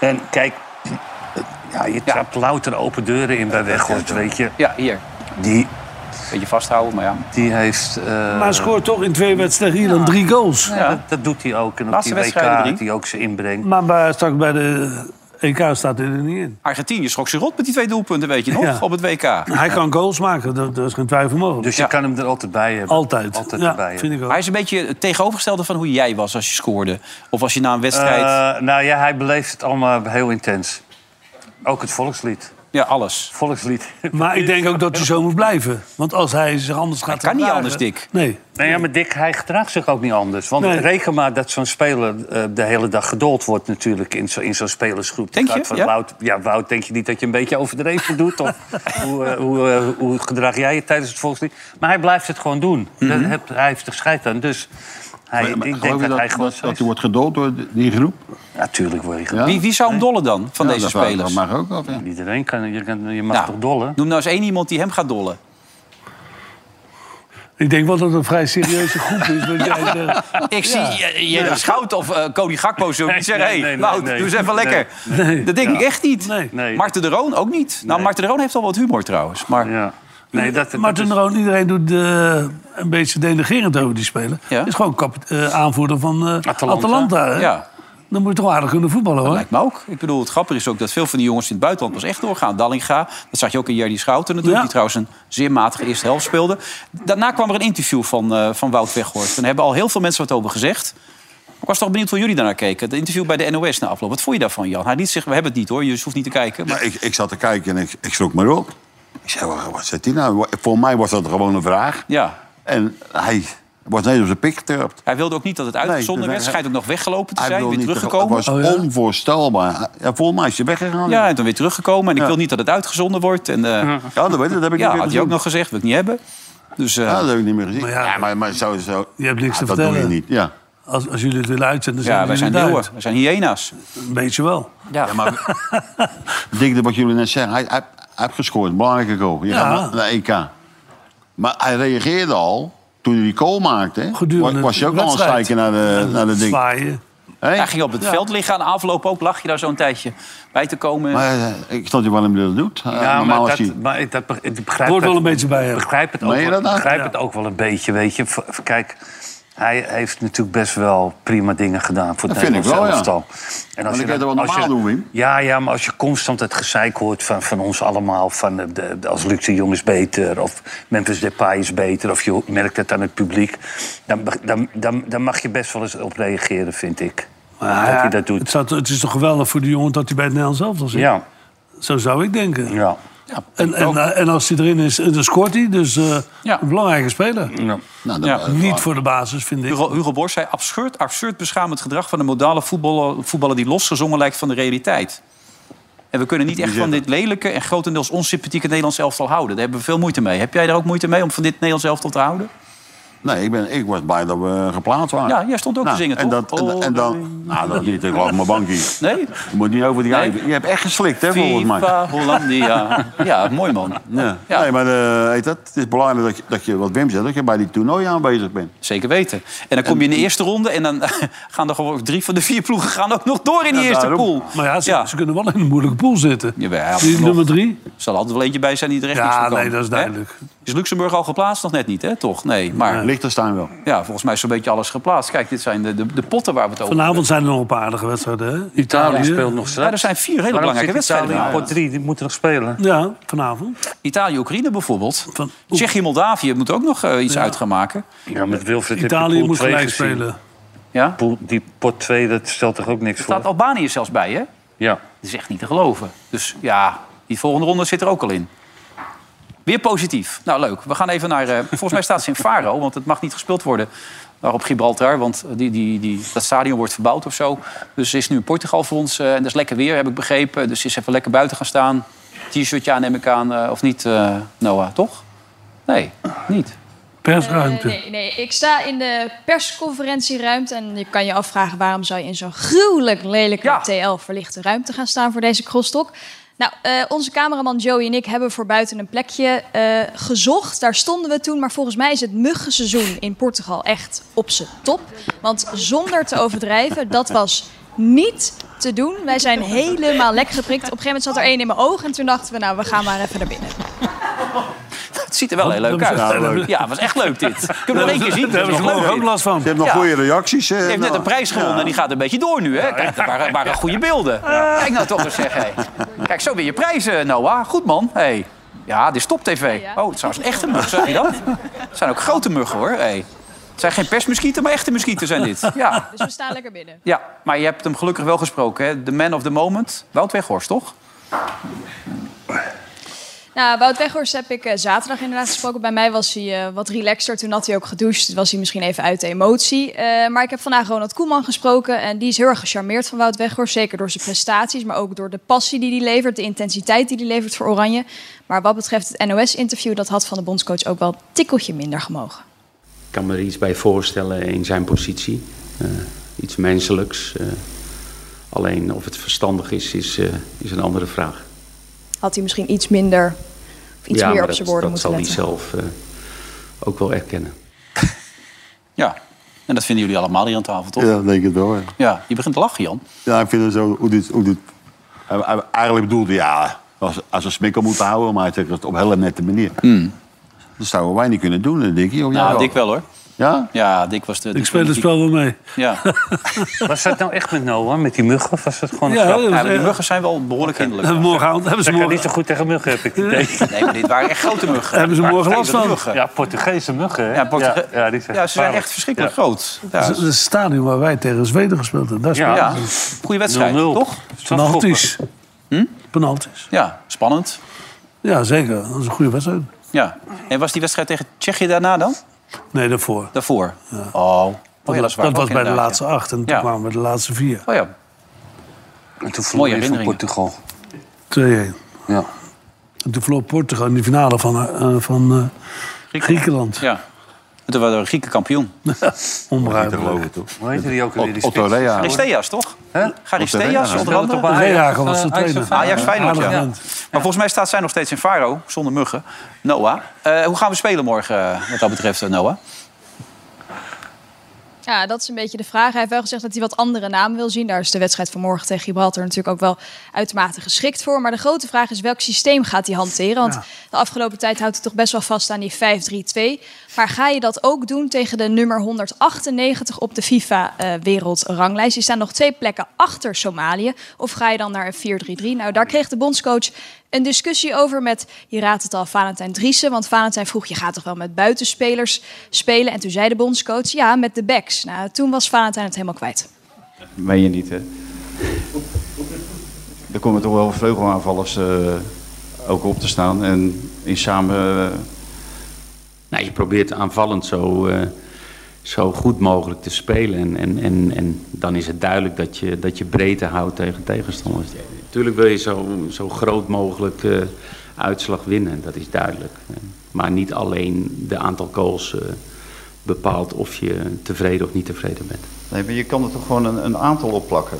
Speaker 4: En kijk, ja, je trapt louter open deuren in bij Weghorst, weet je.
Speaker 2: Ja, hier.
Speaker 4: Die,
Speaker 2: Beetje vasthouden, maar ja.
Speaker 4: die heeft... eh,
Speaker 5: Maar hij scoort toch in twee wedstrijden hier dan drie goals.
Speaker 4: ja, dat, dat doet hij ook. En op
Speaker 2: Laatste
Speaker 4: die WK
Speaker 2: wedstrijden drie.
Speaker 4: had hij ook zijn inbreng.
Speaker 5: Maar bij, straks bij de EK staat hij er niet in.
Speaker 2: Argentinië schrok zich rot met die twee doelpunten, weet je nog?
Speaker 5: Ja.
Speaker 2: Op het WK.
Speaker 5: Hij kan goals maken, daar daar is geen twijfel mogelijk.
Speaker 4: Dus je
Speaker 2: Ja.
Speaker 4: kan hem er altijd bij hebben.
Speaker 5: altijd.
Speaker 4: Altijd
Speaker 5: ja,
Speaker 4: erbij hebben.
Speaker 5: vind ik ook.
Speaker 2: Maar hij is een beetje het tegenovergestelde van hoe jij was als je scoorde. Of als je na een wedstrijd...
Speaker 4: Eh, nou ja, hij beleeft het allemaal heel intens. Ook het volkslied.
Speaker 2: ja, alles.
Speaker 4: Volkslied.
Speaker 5: Maar ik denk ook dat hij zo moet blijven. Want als hij zich anders gaat
Speaker 2: kan niet
Speaker 5: gedragen-
Speaker 2: anders, Dick.
Speaker 5: Nee.
Speaker 4: Nou ja, maar Dick, hij gedraagt zich ook niet anders. Want
Speaker 5: Nee.
Speaker 4: reken maar dat zo'n speler eh, de hele dag gedold wordt natuurlijk in zo- in zo'n spelersgroep. Die
Speaker 2: Denk
Speaker 4: gaat
Speaker 2: je?
Speaker 4: Van
Speaker 2: Ja?
Speaker 4: Wout, ja, Wout, denk je niet dat je een beetje overdreven doet? Of hoe, eh, hoe, eh, hoe gedraag jij je tijdens het volkslied? Maar hij blijft het gewoon doen. Dat heb- hij heeft er scheid aan. Dus hij,
Speaker 3: Maar- maar
Speaker 4: ik
Speaker 3: geloof
Speaker 4: denk
Speaker 3: je
Speaker 4: dat,
Speaker 3: dat,
Speaker 4: hij
Speaker 3: dat,
Speaker 4: gewoon...
Speaker 3: dat, hij wordt gedood door die- die groep?
Speaker 4: Natuurlijk word je
Speaker 3: Ja?
Speaker 4: gedold.
Speaker 2: Wie, wie zou hem dollen dan, van
Speaker 3: Ja,
Speaker 2: deze
Speaker 3: dat vraag ik
Speaker 2: spelers?
Speaker 3: me maar ook af, ja.
Speaker 4: Iedereen kan, je, kan, je mag
Speaker 2: Nou,
Speaker 4: toch dollen?
Speaker 2: Noem nou eens één iemand die hem gaat dollen.
Speaker 5: Ik denk wel dat het een vrij serieuze groep is. want jij zegt-
Speaker 2: Ik zie Jere Schout of eh Cody Gakpo zo niet zeggen...
Speaker 4: nee,
Speaker 2: hey,
Speaker 4: nee,
Speaker 2: Wout,
Speaker 4: nee,
Speaker 2: doe eens
Speaker 4: nee.
Speaker 2: even lekker.
Speaker 5: Nee.
Speaker 2: Dat denk ik echt niet.
Speaker 5: Nee.
Speaker 4: Nee.
Speaker 2: Marten de Roon ook niet. Nou, Marten de Roon heeft al wat humor trouwens. Maar
Speaker 4: Ja. Nee, dat, dat
Speaker 5: Martin
Speaker 4: is-
Speaker 5: de Roon, iedereen doet eh, een beetje denigerend over die speler.
Speaker 2: Ja.
Speaker 5: Is gewoon kap- eh, aanvoerder van eh, Atalanta. hè?
Speaker 2: Ja.
Speaker 5: Dan moet je toch aardig kunnen voetballen, hoor.
Speaker 2: lijkt me ook. Ik bedoel, het grappige is ook dat veel van die jongens in het buitenland pas echt doorgaan. Dallinga, dat zag je ook in Jerry Schouten natuurlijk...
Speaker 5: Ja.
Speaker 2: die trouwens een zeer matige eerste helft speelde. Daarna kwam er een interview van, eh, van Wout Weghorst. En daar hebben al heel veel mensen wat over gezegd. Ik was toch benieuwd hoe jullie daarnaar keken. Het interview bij de NOS na afloop. Wat vond je daarvan, Jan? Hij liet zich... We hebben het niet, hoor. Je hoeft niet te kijken. Maar...
Speaker 3: Nou, ik, ik zat te kijken en ik, ik schrok maar op. Ik zei, "Wa- wat zit hij nou? Voor mij was dat gewoon een vraag.
Speaker 2: Ja.
Speaker 3: En hij was net op zijn pik getrapt.
Speaker 2: Hij wilde ook niet dat het uitgezonden
Speaker 3: dus
Speaker 2: werd.
Speaker 3: hij-
Speaker 2: Schijnt ook nog weggelopen te
Speaker 3: Hij
Speaker 2: zijn.
Speaker 3: wil
Speaker 2: Weer
Speaker 3: niet
Speaker 2: teruggekomen.
Speaker 3: Het was
Speaker 5: Oh,
Speaker 3: onvoorstelbaar. Ja, volgens mij is hij weggegaan.
Speaker 2: Ja, en dan weer teruggekomen. En ik
Speaker 3: Ja.
Speaker 2: wil niet dat het uitgezonden wordt. En eh,
Speaker 3: Ja, dat weet ik. Dat heb ik
Speaker 2: ja,
Speaker 3: niet meer
Speaker 2: had hij ook
Speaker 3: gezien.
Speaker 2: nog gezegd. Wil ik niet hebben. Dus eh,
Speaker 3: Ja, Ah, dat heb ik niet meer gezien.
Speaker 5: Maar
Speaker 3: Maar
Speaker 5: ja,
Speaker 3: ja, maar, maar zo, zo...
Speaker 5: je hebt niks
Speaker 3: ja,
Speaker 5: te
Speaker 3: dat doe je
Speaker 5: vertellen.
Speaker 3: niet, ja.
Speaker 5: Als, als jullie het willen uitzenden,
Speaker 2: ja, wij zijn
Speaker 5: heel
Speaker 2: leeuwen. Wij zijn hyena's.
Speaker 5: Een beetje wel.
Speaker 2: Ja,
Speaker 3: Maar denk wat jullie net zeggen. Hij, hij, hij heeft gescoord, belangrijke goal. Je
Speaker 5: Ja.
Speaker 3: gaat naar de EK. Maar hij reageerde al toen hij die goal maakte. hè.
Speaker 5: Gedurende
Speaker 3: Was- was je ook
Speaker 5: de
Speaker 3: al aan het
Speaker 5: wedstrijd.
Speaker 3: kijken naar de, naar de ding.
Speaker 5: Zwaaien.
Speaker 3: Hè?
Speaker 2: Hij ging op het veld liggen aan de afloop ook. Lag je daar zo'n tijdje bij te komen?
Speaker 3: Maar eh, ik snap niet waarom hij dat doet. Eh,
Speaker 4: Ja, maar,
Speaker 3: normaal is
Speaker 4: dat,
Speaker 3: hij...
Speaker 4: maar ik- dat, beg- ik begrijp
Speaker 5: Hoort wel
Speaker 4: het-
Speaker 5: een beetje bij hem.
Speaker 4: begrijp het ook,
Speaker 3: Meen je
Speaker 4: wel-
Speaker 3: dat nou?
Speaker 4: begrijp
Speaker 5: Ja.
Speaker 4: het ook wel een beetje, weet je. V- v- Kijk, hij heeft natuurlijk best wel prima dingen gedaan voor
Speaker 3: Dat
Speaker 4: het
Speaker 3: vind ik
Speaker 4: Nederlands
Speaker 3: wel, ja.
Speaker 4: elftal. En
Speaker 3: dan kan je
Speaker 4: dan-
Speaker 3: dat wel normaal doen, Wim.
Speaker 4: Ja, ja, maar als je constant het gezeik hoort van, van ons allemaal... Van eh, de, de- als Luc de Jong is beter, of Memphis Depay is beter... of je merkt het aan het publiek... dan, be- dan, dan, dan mag je best wel eens op reageren, vind ik.
Speaker 5: Maar
Speaker 4: dat
Speaker 5: ja,
Speaker 4: hij dat doet.
Speaker 5: Het, staat- het is toch geweldig voor de jongen dat hij bij het Nederlands zelf al zit?
Speaker 4: Ja,
Speaker 5: Zo zou ik denken.
Speaker 4: ja.
Speaker 2: Ja,
Speaker 5: En, en, eh, en als hij erin is, eh, dan scoort hij. Dus eh,
Speaker 2: Ja.
Speaker 5: een belangrijke speler.
Speaker 3: Nou,
Speaker 2: Ja,
Speaker 3: dat,
Speaker 5: Niet voor de basis, vind ik.
Speaker 2: Hugo, Hugo Borst zei absurd, absurd beschamend gedrag van een modale voetballer, voetballer die losgezongen lijkt van de realiteit. En we kunnen niet echt van dit lelijke en grotendeels onsympathieke Nederlands elftal houden. Daar hebben we veel moeite mee. Heb jij daar ook moeite mee om van dit Nederlands elftal te houden?
Speaker 3: Nee, ik, ben, ik was blij dat we eh, geplaatst waren.
Speaker 2: Ja, jij stond ook
Speaker 3: Nou,
Speaker 2: te zingen,
Speaker 3: en
Speaker 2: toch? Oh,
Speaker 3: Dat, en, dat- en dan, nou, dat niet. Ik lag op mijn bankje.
Speaker 2: Nee?
Speaker 3: Je moet niet over die
Speaker 2: Nee.
Speaker 3: Je hebt echt geslikt, hè, volgens mij.
Speaker 2: FIFA Hollandia. Ja, mooi man.
Speaker 3: Ja.
Speaker 2: Ja.
Speaker 3: Nee, maar eh, heet dat, het is belangrijk dat je, dat je, wat Wim zegt, dat je bij die toernooi aanwezig bent.
Speaker 2: Zeker weten. En dan kom je in de eerste ronde en dan gaan er gewoon drie van de vier ploegen gaan ook nog door in die eerste
Speaker 3: daarom.
Speaker 2: pool.
Speaker 5: Maar ja ze,
Speaker 2: Ja.
Speaker 5: ze kunnen wel in een moeilijke pool zitten.
Speaker 2: Jawel, ja,
Speaker 5: Die
Speaker 2: nog.
Speaker 5: nummer drie.
Speaker 2: Er zal altijd wel eentje bij zijn die er echt niks
Speaker 5: Ja,
Speaker 2: van kan.
Speaker 5: nee, dat is
Speaker 2: Hè?
Speaker 5: duidelijk.
Speaker 2: Is Luxemburg al geplaatst? Nog net niet, hè? Toch? Nee. Maar
Speaker 3: Liechtenstein wel.
Speaker 2: ja, volgens mij is zo'n beetje alles geplaatst. Kijk, dit zijn de, de, de potten waar we het over hebben.
Speaker 5: Vanavond zijn er nog een paar aardige wedstrijden. Hè?
Speaker 4: Italië speelt nog straks.
Speaker 2: Ja, er zijn vier hele
Speaker 4: Waarom
Speaker 2: belangrijke
Speaker 4: zit Italië
Speaker 2: wedstrijden.
Speaker 4: in
Speaker 2: vanavond.
Speaker 4: pot 3, die moeten nog spelen.
Speaker 5: Ja, vanavond.
Speaker 2: Italië-Oekraïne bijvoorbeeld.
Speaker 5: Van-
Speaker 2: Tsjechië-Moldavië moet ook nog eh, iets uit gaan maken.
Speaker 4: Ja, met Wilfred
Speaker 5: Italië moet gelijk spelen.
Speaker 2: Ja? Er
Speaker 4: Pool, die pot 2, dat stelt toch ook niks voor?
Speaker 2: staat Albanië zelfs bij, hè?
Speaker 4: Ja.
Speaker 2: Dat is echt niet te geloven. Dus ja, die volgende ronde zit er ook al in. Weer positief. Nou, leuk. We gaan even naar... eh, volgens mij staat ze in Faro, want het mag niet gespeeld worden daar op Gibraltar. Want eh, die, die, die, dat stadion wordt verbouwd of zo. Dus ze is nu in Portugal voor ons. eh, en dat is lekker weer, heb ik begrepen. Dus ze is even lekker buiten gaan staan. T-shirtje aan, neem ik aan. eh, of niet, eh, Noah, toch? Nee, niet.
Speaker 5: Persruimte.
Speaker 8: Eh, nee, nee, ik sta in de persconferentieruimte en je kan je afvragen waarom zou je in zo'n gruwelijk lelijke
Speaker 2: Ja.
Speaker 8: TL-verlichte ruimte gaan staan voor deze crosstalk. Nou, eh, onze cameraman Joey en ik hebben voor buiten een plekje eh, gezocht. Daar stonden we toen, maar volgens mij is het muggenseizoen in Portugal echt op zijn top. Want zonder te overdrijven, dat was niet te doen. Wij zijn helemaal lek geprikt. Op een gegeven moment zat er één in mijn oog en toen dachten we, nou, we gaan maar even naar binnen.
Speaker 2: Het ziet er wel heel leuk
Speaker 5: dat was- dat
Speaker 2: uit.
Speaker 5: was-
Speaker 2: Ja, was echt leuk dit. Kunnen we nog één keer zien?
Speaker 5: Daar hebben
Speaker 2: Dat
Speaker 5: ze
Speaker 2: is nog
Speaker 5: morgen ook
Speaker 2: leuk dit.
Speaker 5: last van.
Speaker 3: Je hebt nog
Speaker 2: Ja.
Speaker 3: goede reacties. eh,
Speaker 2: Hij heeft net
Speaker 3: nou.
Speaker 2: een prijs gewonnen en die gaat een beetje door nu. Hè? Kijk, dat waren, waren goede beelden. Kijk nou toch eens, zeg. Hey. Kijk, zo win je prijzen, Noah. Goed man. Hey. Ja, dit is top-tv.
Speaker 8: Ja.
Speaker 2: Oh, het zijn een echte mug, zeg je dat? Het zijn ook grote muggen, hoor. Hey. Het zijn geen persmuskieten, maar echte muskieten zijn dit. Ja.
Speaker 8: Dus we staan lekker binnen.
Speaker 2: ja, maar je hebt hem gelukkig wel gesproken. Hè? The man of the moment. Wout Weghorst, toch?
Speaker 8: Nou, Wout Weghorst heb ik eh, zaterdag inderdaad gesproken. Bij mij was hij eh, wat relaxter. Toen had hij ook gedoucht. Was hij misschien even uit de emotie. Eh, maar ik heb vandaag Ronald Koeman gesproken. En die is heel erg gecharmeerd van Wout Weghorst. Zeker door zijn prestaties. Maar ook door de passie die hij levert. De intensiteit die hij levert voor Oranje. Maar wat betreft het NOS-interview. Dat had van de bondscoach ook wel een tikkeltje minder gemogen.
Speaker 7: Ik kan me er iets bij voorstellen in zijn positie. Eh, iets menselijks. eh. alleen of het verstandig is, is, eh, is een andere vraag.
Speaker 8: Had hij misschien iets minder... Of iets
Speaker 7: ja,
Speaker 8: meer
Speaker 7: maar
Speaker 8: op zijn
Speaker 7: dat,
Speaker 8: woorden
Speaker 7: dat
Speaker 8: moeten
Speaker 7: zal
Speaker 8: letten.
Speaker 7: hij zelf eh, ook wel erkennen.
Speaker 2: Ja. En dat vinden jullie allemaal hier aan tafel, toch? Ja.
Speaker 3: Ja, dat denk ik wel. Ja,
Speaker 2: je begint te lachen, Jan.
Speaker 3: ja ik vind het zo... Hoe dit, hoe dit, hij- hij- eigenlijk bedoelde ja, als, als een smikkel moeten houden, maar hij zegt dat op een hele nette manier. Dat zouden wij niet kunnen doen, denk ik.
Speaker 2: Hmm. Nou, Dick wel, hoor.
Speaker 3: Ja?
Speaker 2: Ja, Dick was de...
Speaker 5: Ik speel het spel wel mee.
Speaker 2: Ja,
Speaker 4: Was dat nou echt met Noah, met die muggen? Of was dat gewoon een
Speaker 5: Ja,
Speaker 4: grap?
Speaker 5: dat
Speaker 2: Ja,
Speaker 5: was
Speaker 2: maar die
Speaker 5: echt-
Speaker 2: muggen zijn wel behoorlijk hinderlijk.
Speaker 5: hebben we morgenavond hebben ze
Speaker 4: Dat kan niet
Speaker 5: morgen,
Speaker 4: zo goed tegen muggen, heb ik het idee.
Speaker 2: Nee, maar dit waren echt grote muggen.
Speaker 5: Hebben ze
Speaker 2: Maar
Speaker 5: morgen last
Speaker 2: stevige
Speaker 5: van?
Speaker 2: muggen.
Speaker 4: Ja, Portugese muggen, hè?
Speaker 2: Ja, Portuge-
Speaker 4: Ja, ja, die
Speaker 2: Ja, ze zijn echt verschrikkelijk groot. Ja,
Speaker 5: het is het stadion waar wij tegen Zweden gespeeld hebben. Daar
Speaker 4: Ja.
Speaker 5: spelen
Speaker 2: ja.
Speaker 5: ze.
Speaker 2: goede wedstrijd, toch?
Speaker 5: Penalties.
Speaker 2: Hm?
Speaker 5: Penalties.
Speaker 2: Ja, spannend.
Speaker 5: Ja, zeker. Dat is een goede wedstrijd.
Speaker 2: Ja. En was die wedstrijd tegen Tsjechië daarna dan?
Speaker 5: Nee, daarvoor.
Speaker 2: Daarvoor? Oh. Oh, ja, dat, is waar,
Speaker 5: dat
Speaker 2: ook
Speaker 5: was bij de
Speaker 2: inderdaad,
Speaker 5: laatste
Speaker 2: ja.
Speaker 5: acht en toen
Speaker 2: Ja.
Speaker 5: kwamen we de laatste vier. 2-1.
Speaker 2: Oh ja,
Speaker 4: En toen
Speaker 2: Mooie
Speaker 4: verloor je van
Speaker 2: herinneringen.
Speaker 4: Portugal.
Speaker 5: Ja. En toen verloor Portugal in de finale van, eh, van eh, Griekenland.
Speaker 2: ja. En toen waren we Grieken kampioen.
Speaker 5: Nou,
Speaker 3: Dat
Speaker 5: Onbegrijpelijk.
Speaker 3: geloof ik toch?
Speaker 4: Hoe heette die ook alweer? die
Speaker 3: Otto
Speaker 4: spits?
Speaker 3: Rea.
Speaker 2: Aristeas, toch? Garisteas,
Speaker 3: Torreira.
Speaker 2: onder andere.
Speaker 4: Speelde toch bij
Speaker 5: Rejager was de
Speaker 4: eh, Ajax
Speaker 5: trainer.
Speaker 4: of
Speaker 2: Ajax Feyenoord, ja.
Speaker 5: Aardig
Speaker 2: Maar
Speaker 5: vent.
Speaker 2: volgens mij staat zij nog steeds in Faro, zonder muggen. Noah, eh, hoe gaan we spelen morgen eh, wat dat betreft, eh, Noah?
Speaker 8: Ja, dat is een beetje de vraag. Hij heeft wel gezegd dat hij wat andere namen wil zien. Daar is de wedstrijd van morgen tegen Gibraltar natuurlijk ook wel uitermate geschikt voor. Maar de grote vraag is welk systeem gaat hij hanteren? Want de afgelopen tijd houdt hij toch best wel vast aan die 5-3-2. Maar ga je dat ook doen tegen de nummer 198 op de FIFA-wereldranglijst? die staan nog twee plekken achter Somalië. Of ga je dan naar een 4-3-3? Nou, daar kreeg de bondscoach een discussie over met, je raadt het al, Valentijn Driessen. Want Valentijn vroeg, je gaat toch wel met buitenspelers spelen? En toen zei de bondscoach, ja, met de backs. Nou, toen was Valentijn het helemaal kwijt.
Speaker 6: Meen je niet, hè? Er komen toch wel vleugelaanvallers eh, ook op te staan en in samen... eh,
Speaker 7: Nou, je probeert aanvallend zo, eh, zo goed mogelijk te spelen. En, en, en, en dan is het duidelijk dat je, dat je breedte houdt tegen tegenstanders. Natuurlijk wil je zo, zo groot mogelijk eh, uitslag winnen, dat is duidelijk. Maar niet alleen de aantal goals eh, bepaalt of je tevreden of niet tevreden bent.
Speaker 6: nee, maar je kan er toch gewoon een, een aantal opplakken.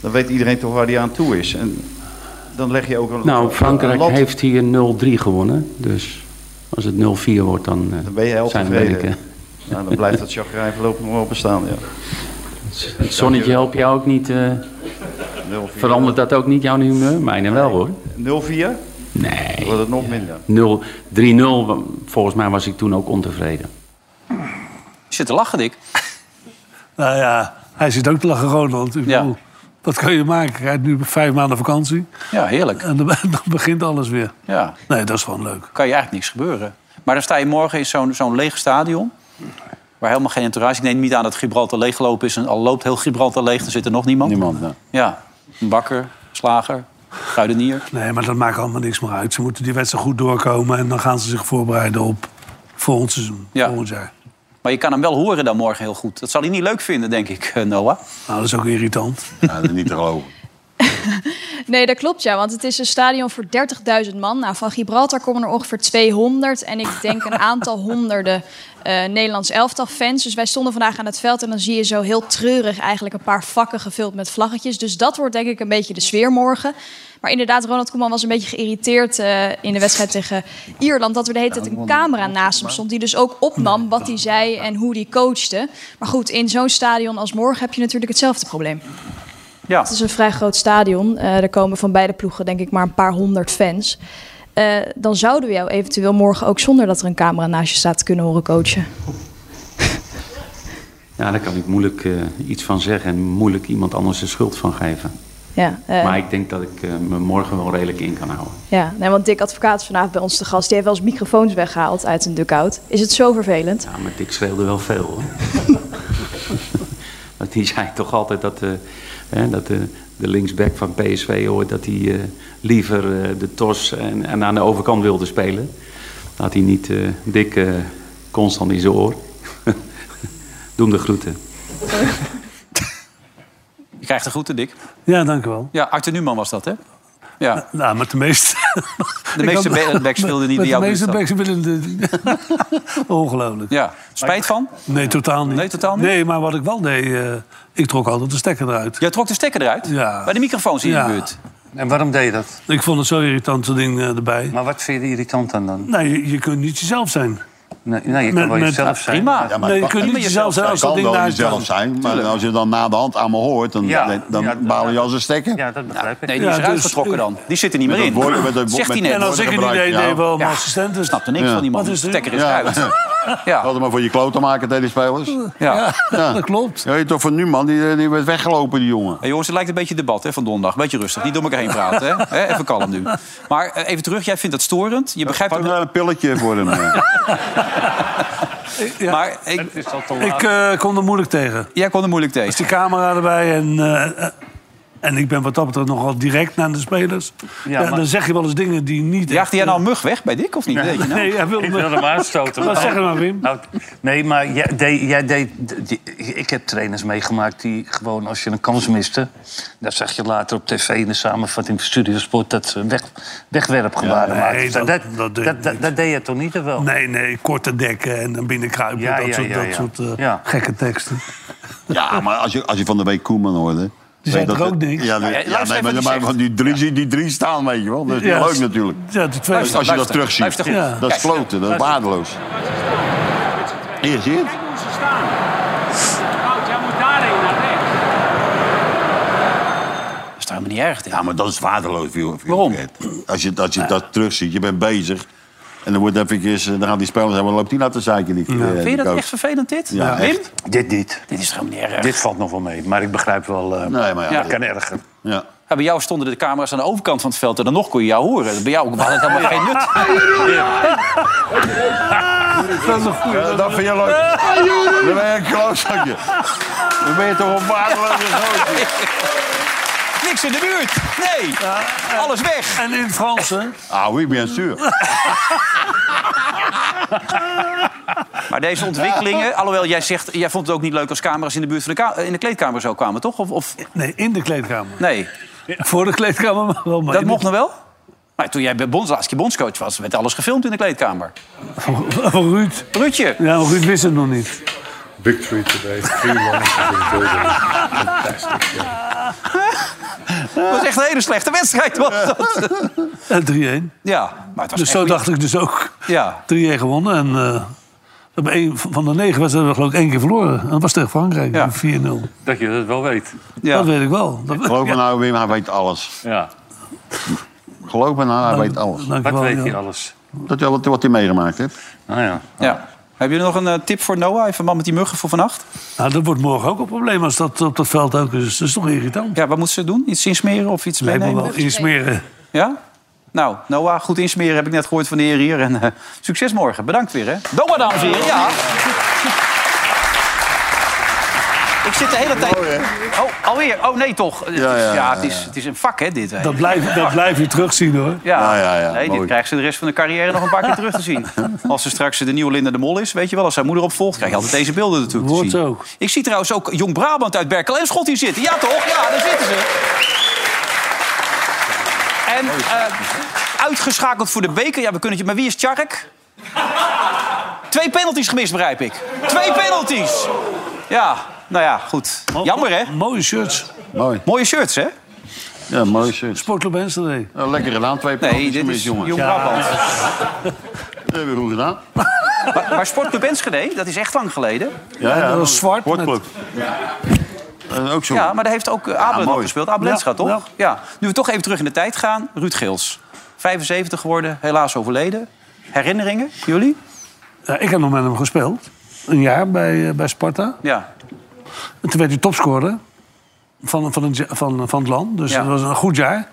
Speaker 6: Dan weet iedereen toch waar die aan toe is. En dan leg je ook een,
Speaker 7: Nou,
Speaker 6: een
Speaker 7: Frankrijk
Speaker 6: lat-
Speaker 7: heeft hier 0-3 gewonnen. Dus als het 0-4 wordt, dan, eh,
Speaker 6: Dan ben je heel
Speaker 7: zijn
Speaker 6: tevreden.
Speaker 7: ben ik, eh,
Speaker 6: Nou, dan blijft dat chagrijn voorlopig nog wel bestaan. Ja.
Speaker 7: Het zonnetje helpt jou ook niet. eh,
Speaker 6: 0-4.
Speaker 7: verandert dat ook niet jouw humeur? Mijne wel hoor.
Speaker 6: 0-4?
Speaker 7: Nee.
Speaker 6: Wordt het nog minder.
Speaker 7: 0, 3-0, volgens mij was ik toen ook ontevreden.
Speaker 2: Je zit te lachen, Dick.
Speaker 5: Nou ja, hij zit ook te lachen, Ronald. Ik
Speaker 2: Ja.
Speaker 5: bedoel, wat kan je maken? Hij heeft nu vijf maanden vakantie.
Speaker 2: Ja, heerlijk.
Speaker 5: En dan, dan begint alles weer.
Speaker 2: Ja,
Speaker 5: Nee, dat is gewoon leuk.
Speaker 2: kan je eigenlijk niks gebeuren. Maar dan sta je morgen in zo'n zo'n leeg stadion... waar helemaal geen entourage... Ik neem niet aan dat Gibraltar leeggelopen is... en al loopt heel Gibraltar leeg, dan zit er nog niemand.
Speaker 3: Niemand, nou.
Speaker 2: Ja, een bakker, slager, kruidenier.
Speaker 5: Nee, maar dat maakt allemaal niks meer uit. Ze moeten die wedstrijd goed doorkomen en dan gaan ze zich voorbereiden op volgend seizoen,
Speaker 2: Ja.
Speaker 5: volgend jaar.
Speaker 2: Maar je kan hem wel horen dan morgen heel goed. Dat zal hij niet leuk vinden, denk ik, eh, Noah.
Speaker 5: Nou, dat is ook irritant.
Speaker 3: Ja, nou, dat is niet te geloven.
Speaker 8: Nee, dat klopt ja, want het is een stadion voor 30.000 man. Nou, van Gibraltar komen er ongeveer 200 en ik denk een aantal honderden eh, Nederlands elftal fans. Dus wij stonden vandaag aan het veld en dan zie je zo heel treurig eigenlijk een paar vakken gevuld met vlaggetjes. Dus dat wordt denk ik een beetje de sfeer morgen. Maar inderdaad, Ronald Koeman was een beetje geïrriteerd eh, in de wedstrijd tegen Ierland. Dat er de hele tijd een camera naast hem stond. Die dus ook opnam wat hij zei en hoe hij coachte. Maar goed, in zo'n stadion als morgen heb je natuurlijk hetzelfde probleem.
Speaker 2: Ja,
Speaker 8: Het is een vrij groot stadion. Eh, er komen van beide ploegen denk ik maar een paar honderd fans. Eh, dan zouden we jou eventueel morgen ook zonder dat er een camera naast je staat kunnen horen coachen.
Speaker 7: Ja, daar kan ik moeilijk eh, iets van zeggen en moeilijk iemand anders de schuld van geven.
Speaker 8: Ja, eh,
Speaker 7: Maar ik denk dat ik eh, me morgen wel redelijk in kan houden.
Speaker 8: ja. Nee, want Dick Advocaat is vanavond bij ons te gast. Die heeft wel eens microfoons weggehaald uit een dugout. Is het zo vervelend?
Speaker 7: Ja, maar Dick schreeuwde wel veel hoor. Want die zei toch altijd dat, eh, hè, dat de, de linksback van PSV hoort dat hij eh, liever eh, de tos en, en aan de overkant wilde spelen. Dat hij niet eh Dick eh, constant in zijn oor. Doe hem de groeten.
Speaker 2: je krijgt de groeten, Dick.
Speaker 5: Ja, dank u wel.
Speaker 2: Ja, Arthur Newman was dat, hè? Ja,
Speaker 5: Nou, met de meeste...
Speaker 2: de meeste be- backs wilden niet
Speaker 5: met de
Speaker 2: bij jou
Speaker 5: meeste
Speaker 2: doen.
Speaker 5: backs willen... de- Ongelooflijk.
Speaker 2: Ja, spijt van?
Speaker 5: Nee, totaal niet.
Speaker 2: Nee, totaal niet?
Speaker 5: Nee, maar wat ik wel deed, eh, ik trok altijd de stekker eruit.
Speaker 2: Jij trok de stekker eruit?
Speaker 5: Ja.
Speaker 2: Bij de microfoons in
Speaker 5: Ja.
Speaker 2: de buurt.
Speaker 4: En waarom deed je dat?
Speaker 5: Ik vond het zo irritant, dat ding eh, erbij.
Speaker 4: Maar wat vind je er irritant aan dan?
Speaker 5: Nee, je, je kunt niet jezelf zijn.
Speaker 4: Nee, nee, je kan
Speaker 5: Met-
Speaker 4: wel
Speaker 5: met-
Speaker 4: jezelf zijn.
Speaker 2: Prima.
Speaker 3: Ja, maar
Speaker 5: nee,
Speaker 3: het
Speaker 5: je
Speaker 3: mag
Speaker 5: kunt niet
Speaker 3: niet
Speaker 2: meer
Speaker 5: jezelf
Speaker 4: Nou,
Speaker 5: zijn
Speaker 3: Het
Speaker 5: als dat
Speaker 3: kan
Speaker 5: ding
Speaker 3: wel
Speaker 5: daar
Speaker 3: jezelf
Speaker 5: staat.
Speaker 3: zijn, maar als je dan na de hand aan me hoort, dan,
Speaker 4: Ja,
Speaker 3: dan
Speaker 4: ja,
Speaker 3: baal je
Speaker 4: ja.
Speaker 3: als een stekker.
Speaker 4: Ja, dat begrijp ik.
Speaker 2: Nee, die is
Speaker 5: Ja,
Speaker 2: eruit
Speaker 5: dus-
Speaker 2: getrokken dan. Die zit er niet
Speaker 3: Met
Speaker 2: meer in.
Speaker 3: dat woord- met dat-
Speaker 2: Zegt hij
Speaker 3: met-
Speaker 2: net.
Speaker 5: En als ik
Speaker 2: Ik
Speaker 5: het idee deed,
Speaker 3: gebruikt, ja.
Speaker 5: wel mijn
Speaker 2: Ja.
Speaker 5: assistent Dus is.
Speaker 2: snap er niks
Speaker 3: Ja.
Speaker 2: van die man.
Speaker 5: Wat
Speaker 2: De
Speaker 5: is dit?
Speaker 2: stekker is
Speaker 3: Ja. Oh.
Speaker 2: eruit.
Speaker 3: Had
Speaker 2: Ja,
Speaker 3: het maar voor je kloot te maken tegen die spelers.
Speaker 2: ja.
Speaker 3: Ja.
Speaker 5: Dat klopt.
Speaker 3: Ja, je toch van Numan, die, die werd weggelopen, die jongen.
Speaker 2: Hey, jongens, het lijkt een beetje debat hè, van donderdag. Beetje rustig, niet door elkaar heen praten. Hè? Hè, Even kalm nu. Maar eh, even terug, jij vindt dat storend. Je begrijpt
Speaker 3: Pak
Speaker 2: het.
Speaker 3: nou een pilletje voor hem. eh.
Speaker 5: Ja.
Speaker 2: Maar ik,
Speaker 4: Het is al te
Speaker 5: Ik
Speaker 4: laat.
Speaker 5: eh kon er moeilijk tegen.
Speaker 2: jij kon er moeilijk
Speaker 5: Is
Speaker 2: tegen.
Speaker 5: die camera erbij en... eh, eh, en ik ben wat dat betreft nogal direct naar de spelers. Ja,
Speaker 4: maar-
Speaker 5: Dan zeg je wel eens dingen die niet... echt- eh,
Speaker 2: Jaagde jij nou een mug weg bij Dick of niet? Weet je nou?
Speaker 5: Nee, hij wilde
Speaker 4: Ik
Speaker 5: me-
Speaker 4: wil hem aanstoten.
Speaker 5: Wat zeg je nou, Wim?
Speaker 4: Nou, nee, maar jij deed... Jij deed die- ik heb trainers meegemaakt die gewoon als je een kans miste... daar zag je later op tv in de samenvatting van Studiosport... dat ze weg, wegwerpgebaren maakten.
Speaker 5: nee, dat-
Speaker 4: dat,
Speaker 5: dat
Speaker 4: dat,
Speaker 5: deed
Speaker 4: dat,
Speaker 5: ik
Speaker 4: dat,
Speaker 5: niet.
Speaker 4: deed je toch niet, of wel?
Speaker 5: Nee, nee, korte dekken en dan binnenkruipen.
Speaker 4: Ja,
Speaker 5: dat
Speaker 4: ja,
Speaker 5: soort,
Speaker 4: ja,
Speaker 5: dat
Speaker 4: ja.
Speaker 5: soort eh,
Speaker 4: Ja.
Speaker 5: gekke teksten.
Speaker 3: Ja, maar als je, als je van de week Koeman hoorde...
Speaker 5: Die
Speaker 3: weet
Speaker 5: zei
Speaker 3: dat
Speaker 5: toch ook
Speaker 3: het-
Speaker 5: niks?
Speaker 3: Ja,
Speaker 2: Ja, ja,
Speaker 3: ja,
Speaker 2: luister
Speaker 3: nee, maar,
Speaker 2: even wat hij
Speaker 3: maar van die drie, zie- die drie staan, weet je wel. Dat is
Speaker 5: Ja.
Speaker 3: niet leuk natuurlijk.
Speaker 5: Ja, de twee.
Speaker 2: Luister,
Speaker 3: Als je dat terug ziet,
Speaker 2: luister goed.
Speaker 5: Ja.
Speaker 3: dat is kloten, dat is waardeloos. Hier, zie je het?
Speaker 9: Kijk hoe ze staan. Wout, jij moet daarheen, naar rechts.
Speaker 2: Dat is toch helemaal niet erg, Dick?
Speaker 3: Ja, maar dat is waardeloos. Viel,
Speaker 2: Waarom?
Speaker 3: Als je, als je dat terugziet, je bent bezig. En dan wordt eventjes, eh, dan gaan die spelers zeggen, wat loopt die nou te zeiken? Die, eh,
Speaker 2: Vind
Speaker 3: die
Speaker 2: je dat
Speaker 3: coach?
Speaker 2: echt vervelend, dit?
Speaker 3: Ja,
Speaker 2: Wim?
Speaker 3: echt.
Speaker 4: Dit niet.
Speaker 2: Dit is toch helemaal niet erg?
Speaker 4: Dit valt nog wel mee, maar ik begrijp wel... eh
Speaker 3: Nee, maar ja.
Speaker 2: Ja.
Speaker 4: Dat kan erger.
Speaker 3: ja.
Speaker 2: Ja, bij jou stonden de camera's aan de overkant van het veld en dan nog kon je jou horen. Bij jou had het helemaal geen nut.
Speaker 5: Dat is een goeie.
Speaker 3: Ja, dat vind je leuk. Dan ben je een klootzakje. Dan ben je toch een waardeloze gozer.
Speaker 2: niks in de buurt. Nee, alles weg.
Speaker 5: En in het Frans, hè?
Speaker 3: Ah oui, bien sûr.
Speaker 2: Maar deze ontwikkelingen, alhoewel jij zegt... jij vond het ook niet leuk als camera's in de buurt van de, ka- in de kleedkamer zo kwamen, toch? Of, of
Speaker 5: Nee, in de kleedkamer.
Speaker 2: nee,
Speaker 5: Voor de kleedkamer maar nou wel. Maar
Speaker 2: dat
Speaker 5: in
Speaker 2: mocht
Speaker 5: de-
Speaker 2: nog wel? Maar toen jij bij bonds, laatst keer bondscoach was, werd alles gefilmd in de kleedkamer.
Speaker 5: Van Ruud.
Speaker 2: Rutje,
Speaker 5: Ja, maar Ruud wist het nog niet.
Speaker 10: Big three today, three runs in the building.
Speaker 2: dat was echt een hele slechte wedstrijd. Was dat.
Speaker 5: En 3-1.
Speaker 2: Ja, maar het was
Speaker 5: Eh, Dus zo
Speaker 2: echt-
Speaker 5: dacht ik dus ook. 3-1
Speaker 2: Ja,
Speaker 5: gewonnen. En eh, we hebben één- van de negen wedstrijden hebben we geloof ik één keer verloren. En dat was tegen Frankrijk.
Speaker 2: Ja.
Speaker 5: 4-0.
Speaker 4: Dat je dat wel weet.
Speaker 2: ja.
Speaker 5: Dat weet ik wel. Dat,
Speaker 3: Geloof me nou, Wim, hij weet alles.
Speaker 4: Ja.
Speaker 3: Geloof me nou, hij weet alles.
Speaker 5: Dank je
Speaker 4: Wat
Speaker 5: wel,
Speaker 4: weet
Speaker 5: ja.
Speaker 4: je alles?
Speaker 3: Dat is wat, wat hij meegemaakt heeft.
Speaker 4: Nou ja.
Speaker 2: ja. Hebben jullie nog een eh, tip voor Noah in verband met die muggen voor vannacht?
Speaker 5: Nou, dat wordt morgen ook een probleem als dat op dat veld ook is. Dat is toch irritant?
Speaker 2: Ja, wat moeten ze doen? Iets insmeren of iets
Speaker 5: Lijkt me
Speaker 2: meenemen?
Speaker 5: wel insmeren.
Speaker 2: Ja? Nou, Noah, goed insmeren heb ik net gehoord van de heer hier. En eh, succes morgen. Bedankt weer, hè? Noah, dames en heren. Ja. Ik zit de hele tijd... Oh, alweer? Oh, nee, toch? Het is- Ja,
Speaker 3: ja, ja,
Speaker 2: het, is, het is een vak, hè, dit. hè.
Speaker 5: Dat blijf, dat blijf je terugzien hoor.
Speaker 2: Ja,
Speaker 3: Ja, ja, ja,
Speaker 2: nee, dit
Speaker 3: mooi.
Speaker 2: krijgt ze de rest van de carrière nog een paar keer terug te zien. Als ze straks de nieuwe Linda de Mol is, weet je wel, als zijn moeder opvolgt, krijg je altijd deze beelden natuurlijk te
Speaker 5: Wordt
Speaker 2: zien.
Speaker 5: ook.
Speaker 2: Ik zie trouwens ook Jong Brabant uit Berkel en Schot hier zitten. Ja, toch? Ja, daar zitten ze. En eh, uitgeschakeld voor de beker. Ja, we kunnen het je. Maar wie is Tjark? Twee penalties gemist, begrijp ik. Twee penalties! Ja, nou ja, goed.
Speaker 3: Oh.
Speaker 2: Jammer, hè?
Speaker 5: Mooie shirts.
Speaker 3: Mooi.
Speaker 2: Mooie shirts, hè?
Speaker 3: Ja, mooi shit.
Speaker 5: Sportclub Enschede.
Speaker 3: Nou, lekker gedaan, twee
Speaker 2: Nee,
Speaker 3: penalties
Speaker 2: dit
Speaker 3: gemist,
Speaker 2: is
Speaker 3: jongen.
Speaker 2: Jong Brabant.
Speaker 3: Dat hebben we goed gedaan.
Speaker 2: Maar, maar Sportclub Enschede, dat is echt lang geleden.
Speaker 3: Ja, ja.
Speaker 5: Dat was zwart. met-
Speaker 3: Sportclub. Dat is ook zo.
Speaker 2: Ja, maar daar heeft ook eh, Abel
Speaker 3: Ja,
Speaker 2: nog
Speaker 3: mooi.
Speaker 2: gespeeld. Abel
Speaker 5: Ja,
Speaker 2: Enscha, toch? Ja.
Speaker 5: ja.
Speaker 2: Nu we toch even terug in de tijd gaan. Ruud Geels. 75 geworden, helaas overleden. Herinneringen, jullie?
Speaker 5: Ja, ik heb nog met hem gespeeld. Een jaar bij, eh, bij Sparta.
Speaker 2: Ja.
Speaker 5: En toen werd hij topscorer van, van, het, ja- van, van het land. Dus
Speaker 2: Ja.
Speaker 5: dat was een goed jaar.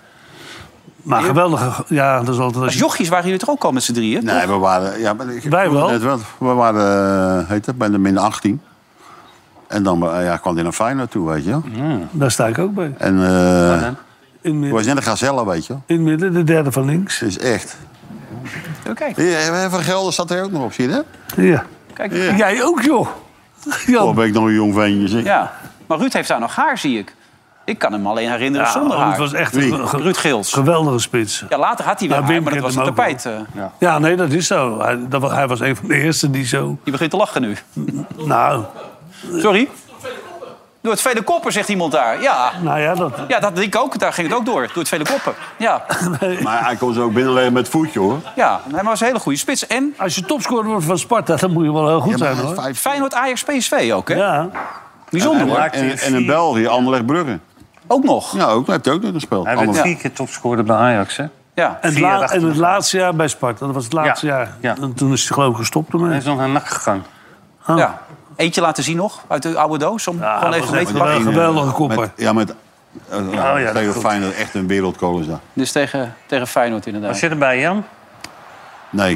Speaker 5: Maar geweldige... Ja, dat is altijd...
Speaker 2: Als
Speaker 5: Als je,
Speaker 2: jochies waren jullie toch ook al met z'n drieën?
Speaker 3: Nee, we waren... Ja, maar ik-
Speaker 5: Wij wel.
Speaker 3: Net wel. We waren, eh, heet het, bij de min 18. En dan eh, ja, kwam hij naar Feyenoord toe, weet je wel.
Speaker 5: daar sta ik ook bij.
Speaker 3: En eh
Speaker 5: In,
Speaker 3: het
Speaker 5: midden-
Speaker 3: was net een gazelle, weet je wel.
Speaker 5: in het midden, de derde van links.
Speaker 3: Het is echt...
Speaker 2: Oh, Kijk,
Speaker 3: Ja, Van Gelder staat er ook nog op, zie je dat?
Speaker 5: Ja.
Speaker 2: kijk.
Speaker 3: Ja.
Speaker 5: Jij ook, joh.
Speaker 3: Oh,
Speaker 5: Jan.
Speaker 3: ben ik nog een jong ventje, zeg.
Speaker 2: Ja. Maar Ruud heeft daar nog haar, zie ik. Ik kan hem alleen herinneren zonder
Speaker 5: Ja,
Speaker 2: haar.
Speaker 5: het was echt
Speaker 3: Wie?
Speaker 5: een ge-
Speaker 2: Ruud Geels.
Speaker 5: geweldige spits.
Speaker 2: Ja, later had hij weer
Speaker 5: Ja,
Speaker 2: haar,
Speaker 5: Wim
Speaker 2: maar dat was
Speaker 5: kent
Speaker 2: een
Speaker 5: hem ook
Speaker 2: tapijt. eh.
Speaker 5: Ja, nee, dat is zo. Hij, dat, wa- hij was een van de eerste die zo...
Speaker 2: Die begint te lachen nu.
Speaker 5: Nou,
Speaker 2: Sorry? Door het vele koppen, zegt iemand daar. Ja,
Speaker 5: nou ja, dat...
Speaker 2: ja dat denk ik ook. Daar ging het ook door. Door het vele koppen. Ja.
Speaker 3: Maar hij kon ze ook binnenleggen met het voetje, hoor.
Speaker 2: Ja, nee, maar hij was een hele goede spits. En
Speaker 5: Als je topscorer wordt van Sparta, dan moet je wel heel goed
Speaker 3: Ja, maar
Speaker 5: zijn,
Speaker 3: hij is
Speaker 5: hoor.
Speaker 3: vijf-
Speaker 2: Feyenoord, Ajax, PSV ook, hè?
Speaker 5: Ja.
Speaker 2: Bijzonder, hoor.
Speaker 3: En, en, en in België, Anderlecht Brugge.
Speaker 2: Ook nog.
Speaker 3: Ja, ook, heeft hij ook nog gespeeld.
Speaker 4: Hij werd
Speaker 3: Anderlecht.
Speaker 4: vier keer topscorer bij Ajax, hè?
Speaker 2: Ja.
Speaker 5: En het,
Speaker 4: Vier
Speaker 5: la-
Speaker 4: jaar achter
Speaker 5: en het
Speaker 4: elkaar.
Speaker 5: laatste jaar bij Sparta, dat was het laatste
Speaker 4: Ja,
Speaker 5: jaar.
Speaker 4: ja.
Speaker 5: En toen is hij geloof ik gestopt
Speaker 4: Hij
Speaker 5: ermee.
Speaker 4: is nog naar NAC gegaan.
Speaker 2: ja. Eentje laten zien nog, uit de oude doos. Om
Speaker 5: Ja,
Speaker 2: gewoon
Speaker 5: dat
Speaker 2: even
Speaker 5: was
Speaker 2: mee
Speaker 5: echt
Speaker 2: te
Speaker 5: een
Speaker 2: pakken.
Speaker 5: geweldige- geweldige kopper.
Speaker 3: Met, ja, met... eh,
Speaker 4: ja,
Speaker 3: ja,
Speaker 4: dat
Speaker 3: tegen
Speaker 4: klopt.
Speaker 3: Feyenoord echt een wereldkool is dat.
Speaker 2: Dus tegen, tegen Feyenoord
Speaker 4: Wat
Speaker 2: inderdaad.
Speaker 4: zit erbij, Jan?
Speaker 3: Nee.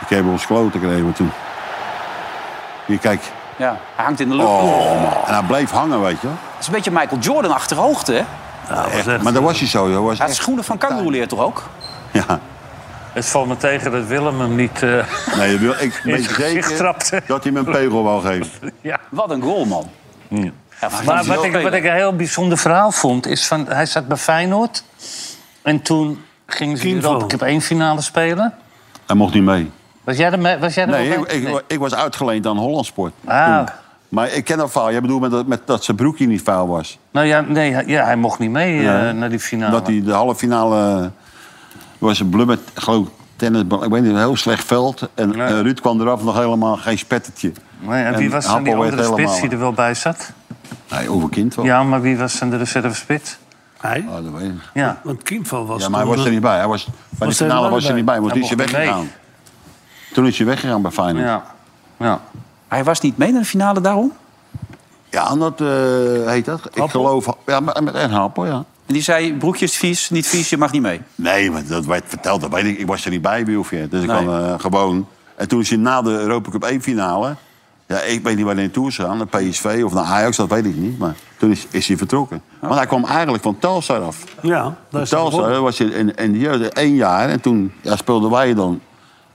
Speaker 3: Ik heb ons kloten gekregen toen. Hier, kijk.
Speaker 2: Ja. Hij hangt in de lucht.
Speaker 3: Oh, man. En hij bleef hangen, weet je wel.
Speaker 2: Het is een beetje Michael Jordan achterhoogte, hè?
Speaker 3: Echt. eh, Maar dat was hij zo. Dat was
Speaker 2: Hij had
Speaker 3: echt...
Speaker 2: schoenen van kangoeroeleer toch ook?
Speaker 3: Ja.
Speaker 4: Het valt me tegen dat Willem hem niet... eh,
Speaker 3: Nee, dat wil- ik
Speaker 4: In
Speaker 3: weet
Speaker 4: zijn gezicht trapte.
Speaker 3: zeker dat hij me een pegel wou geven.
Speaker 2: Wat een goal, man. Ja,
Speaker 4: Maar wat ik, wat ik een heel bijzonder verhaal vond, is van hij zat bij Feyenoord. En toen gingen ze de
Speaker 5: Kienvo.
Speaker 4: Europa Cup 1 finale spelen.
Speaker 3: Hij mocht niet mee.
Speaker 4: Was jij er, mee- was jij er
Speaker 3: Nee,
Speaker 4: ook
Speaker 3: ik,
Speaker 4: bij?
Speaker 3: ik, ik was uitgeleend aan Hollandsport.
Speaker 4: Ah.
Speaker 3: Toen. Maar ik ken dat verhaal. Jij bedoelt met dat, met dat zijn broekje niet vuil was.
Speaker 4: Nou ja, nee, hij- ja, hij mocht niet mee eh,
Speaker 3: Ja.
Speaker 4: naar die finale.
Speaker 3: Dat hij de halve finale... eh, was een blubber, geloof ik, tennis, ik weet niet, een heel slecht veld. En
Speaker 4: Ja.
Speaker 3: eh, Ruud kwam eraf, nog helemaal geen spettertje.
Speaker 4: Nee, en wie was dan die
Speaker 3: Happel werd
Speaker 4: andere spits die
Speaker 3: helemaal-
Speaker 4: er wel bij zat?
Speaker 3: Nee, overkind wel.
Speaker 4: Ja, maar wie was dan de reserve spits?
Speaker 5: Hij?
Speaker 3: Ah, dat weet ik niet.
Speaker 4: Ja.
Speaker 5: Want Kienval was
Speaker 3: Ja,
Speaker 5: toen
Speaker 3: maar hij
Speaker 5: eh,
Speaker 3: was er
Speaker 5: de-
Speaker 3: niet bij. Hij was, bij
Speaker 5: Was
Speaker 3: de
Speaker 5: hij
Speaker 3: finale
Speaker 5: er
Speaker 3: was hij
Speaker 5: bij?
Speaker 3: niet bij, want
Speaker 4: Hij
Speaker 3: toen is hij
Speaker 4: mocht niet
Speaker 3: weggegaan. Toen is hij weggegaan bij Feyenoord. Ja,
Speaker 4: Ja. ja.
Speaker 2: Hij was niet mee naar de finale daarom?
Speaker 3: en dat eh, heet dat. Ik geloof... Ja, met, met een happel, ja.
Speaker 2: En die zei, broekjes vies, niet vies, je mag niet mee.
Speaker 3: Nee, maar dat werd verteld. Dat weet ik. ik was er niet bij, Wilfje. Dus ik
Speaker 2: Nee.
Speaker 3: kwam eh, gewoon... En toen is hij na de Europa Cup 1-finale... Ja, ik weet niet waar hij naartoe is gegaan. Naar PSV of naar Ajax, dat weet ik niet. Maar toen is, is hij vertrokken. Want hij kwam eigenlijk van Telstar af.
Speaker 5: Ja, daar is het
Speaker 3: Telstar
Speaker 5: begonnen.
Speaker 3: hè, was hij in, in de jeugd één jaar. En toen ja, speelden wij dan.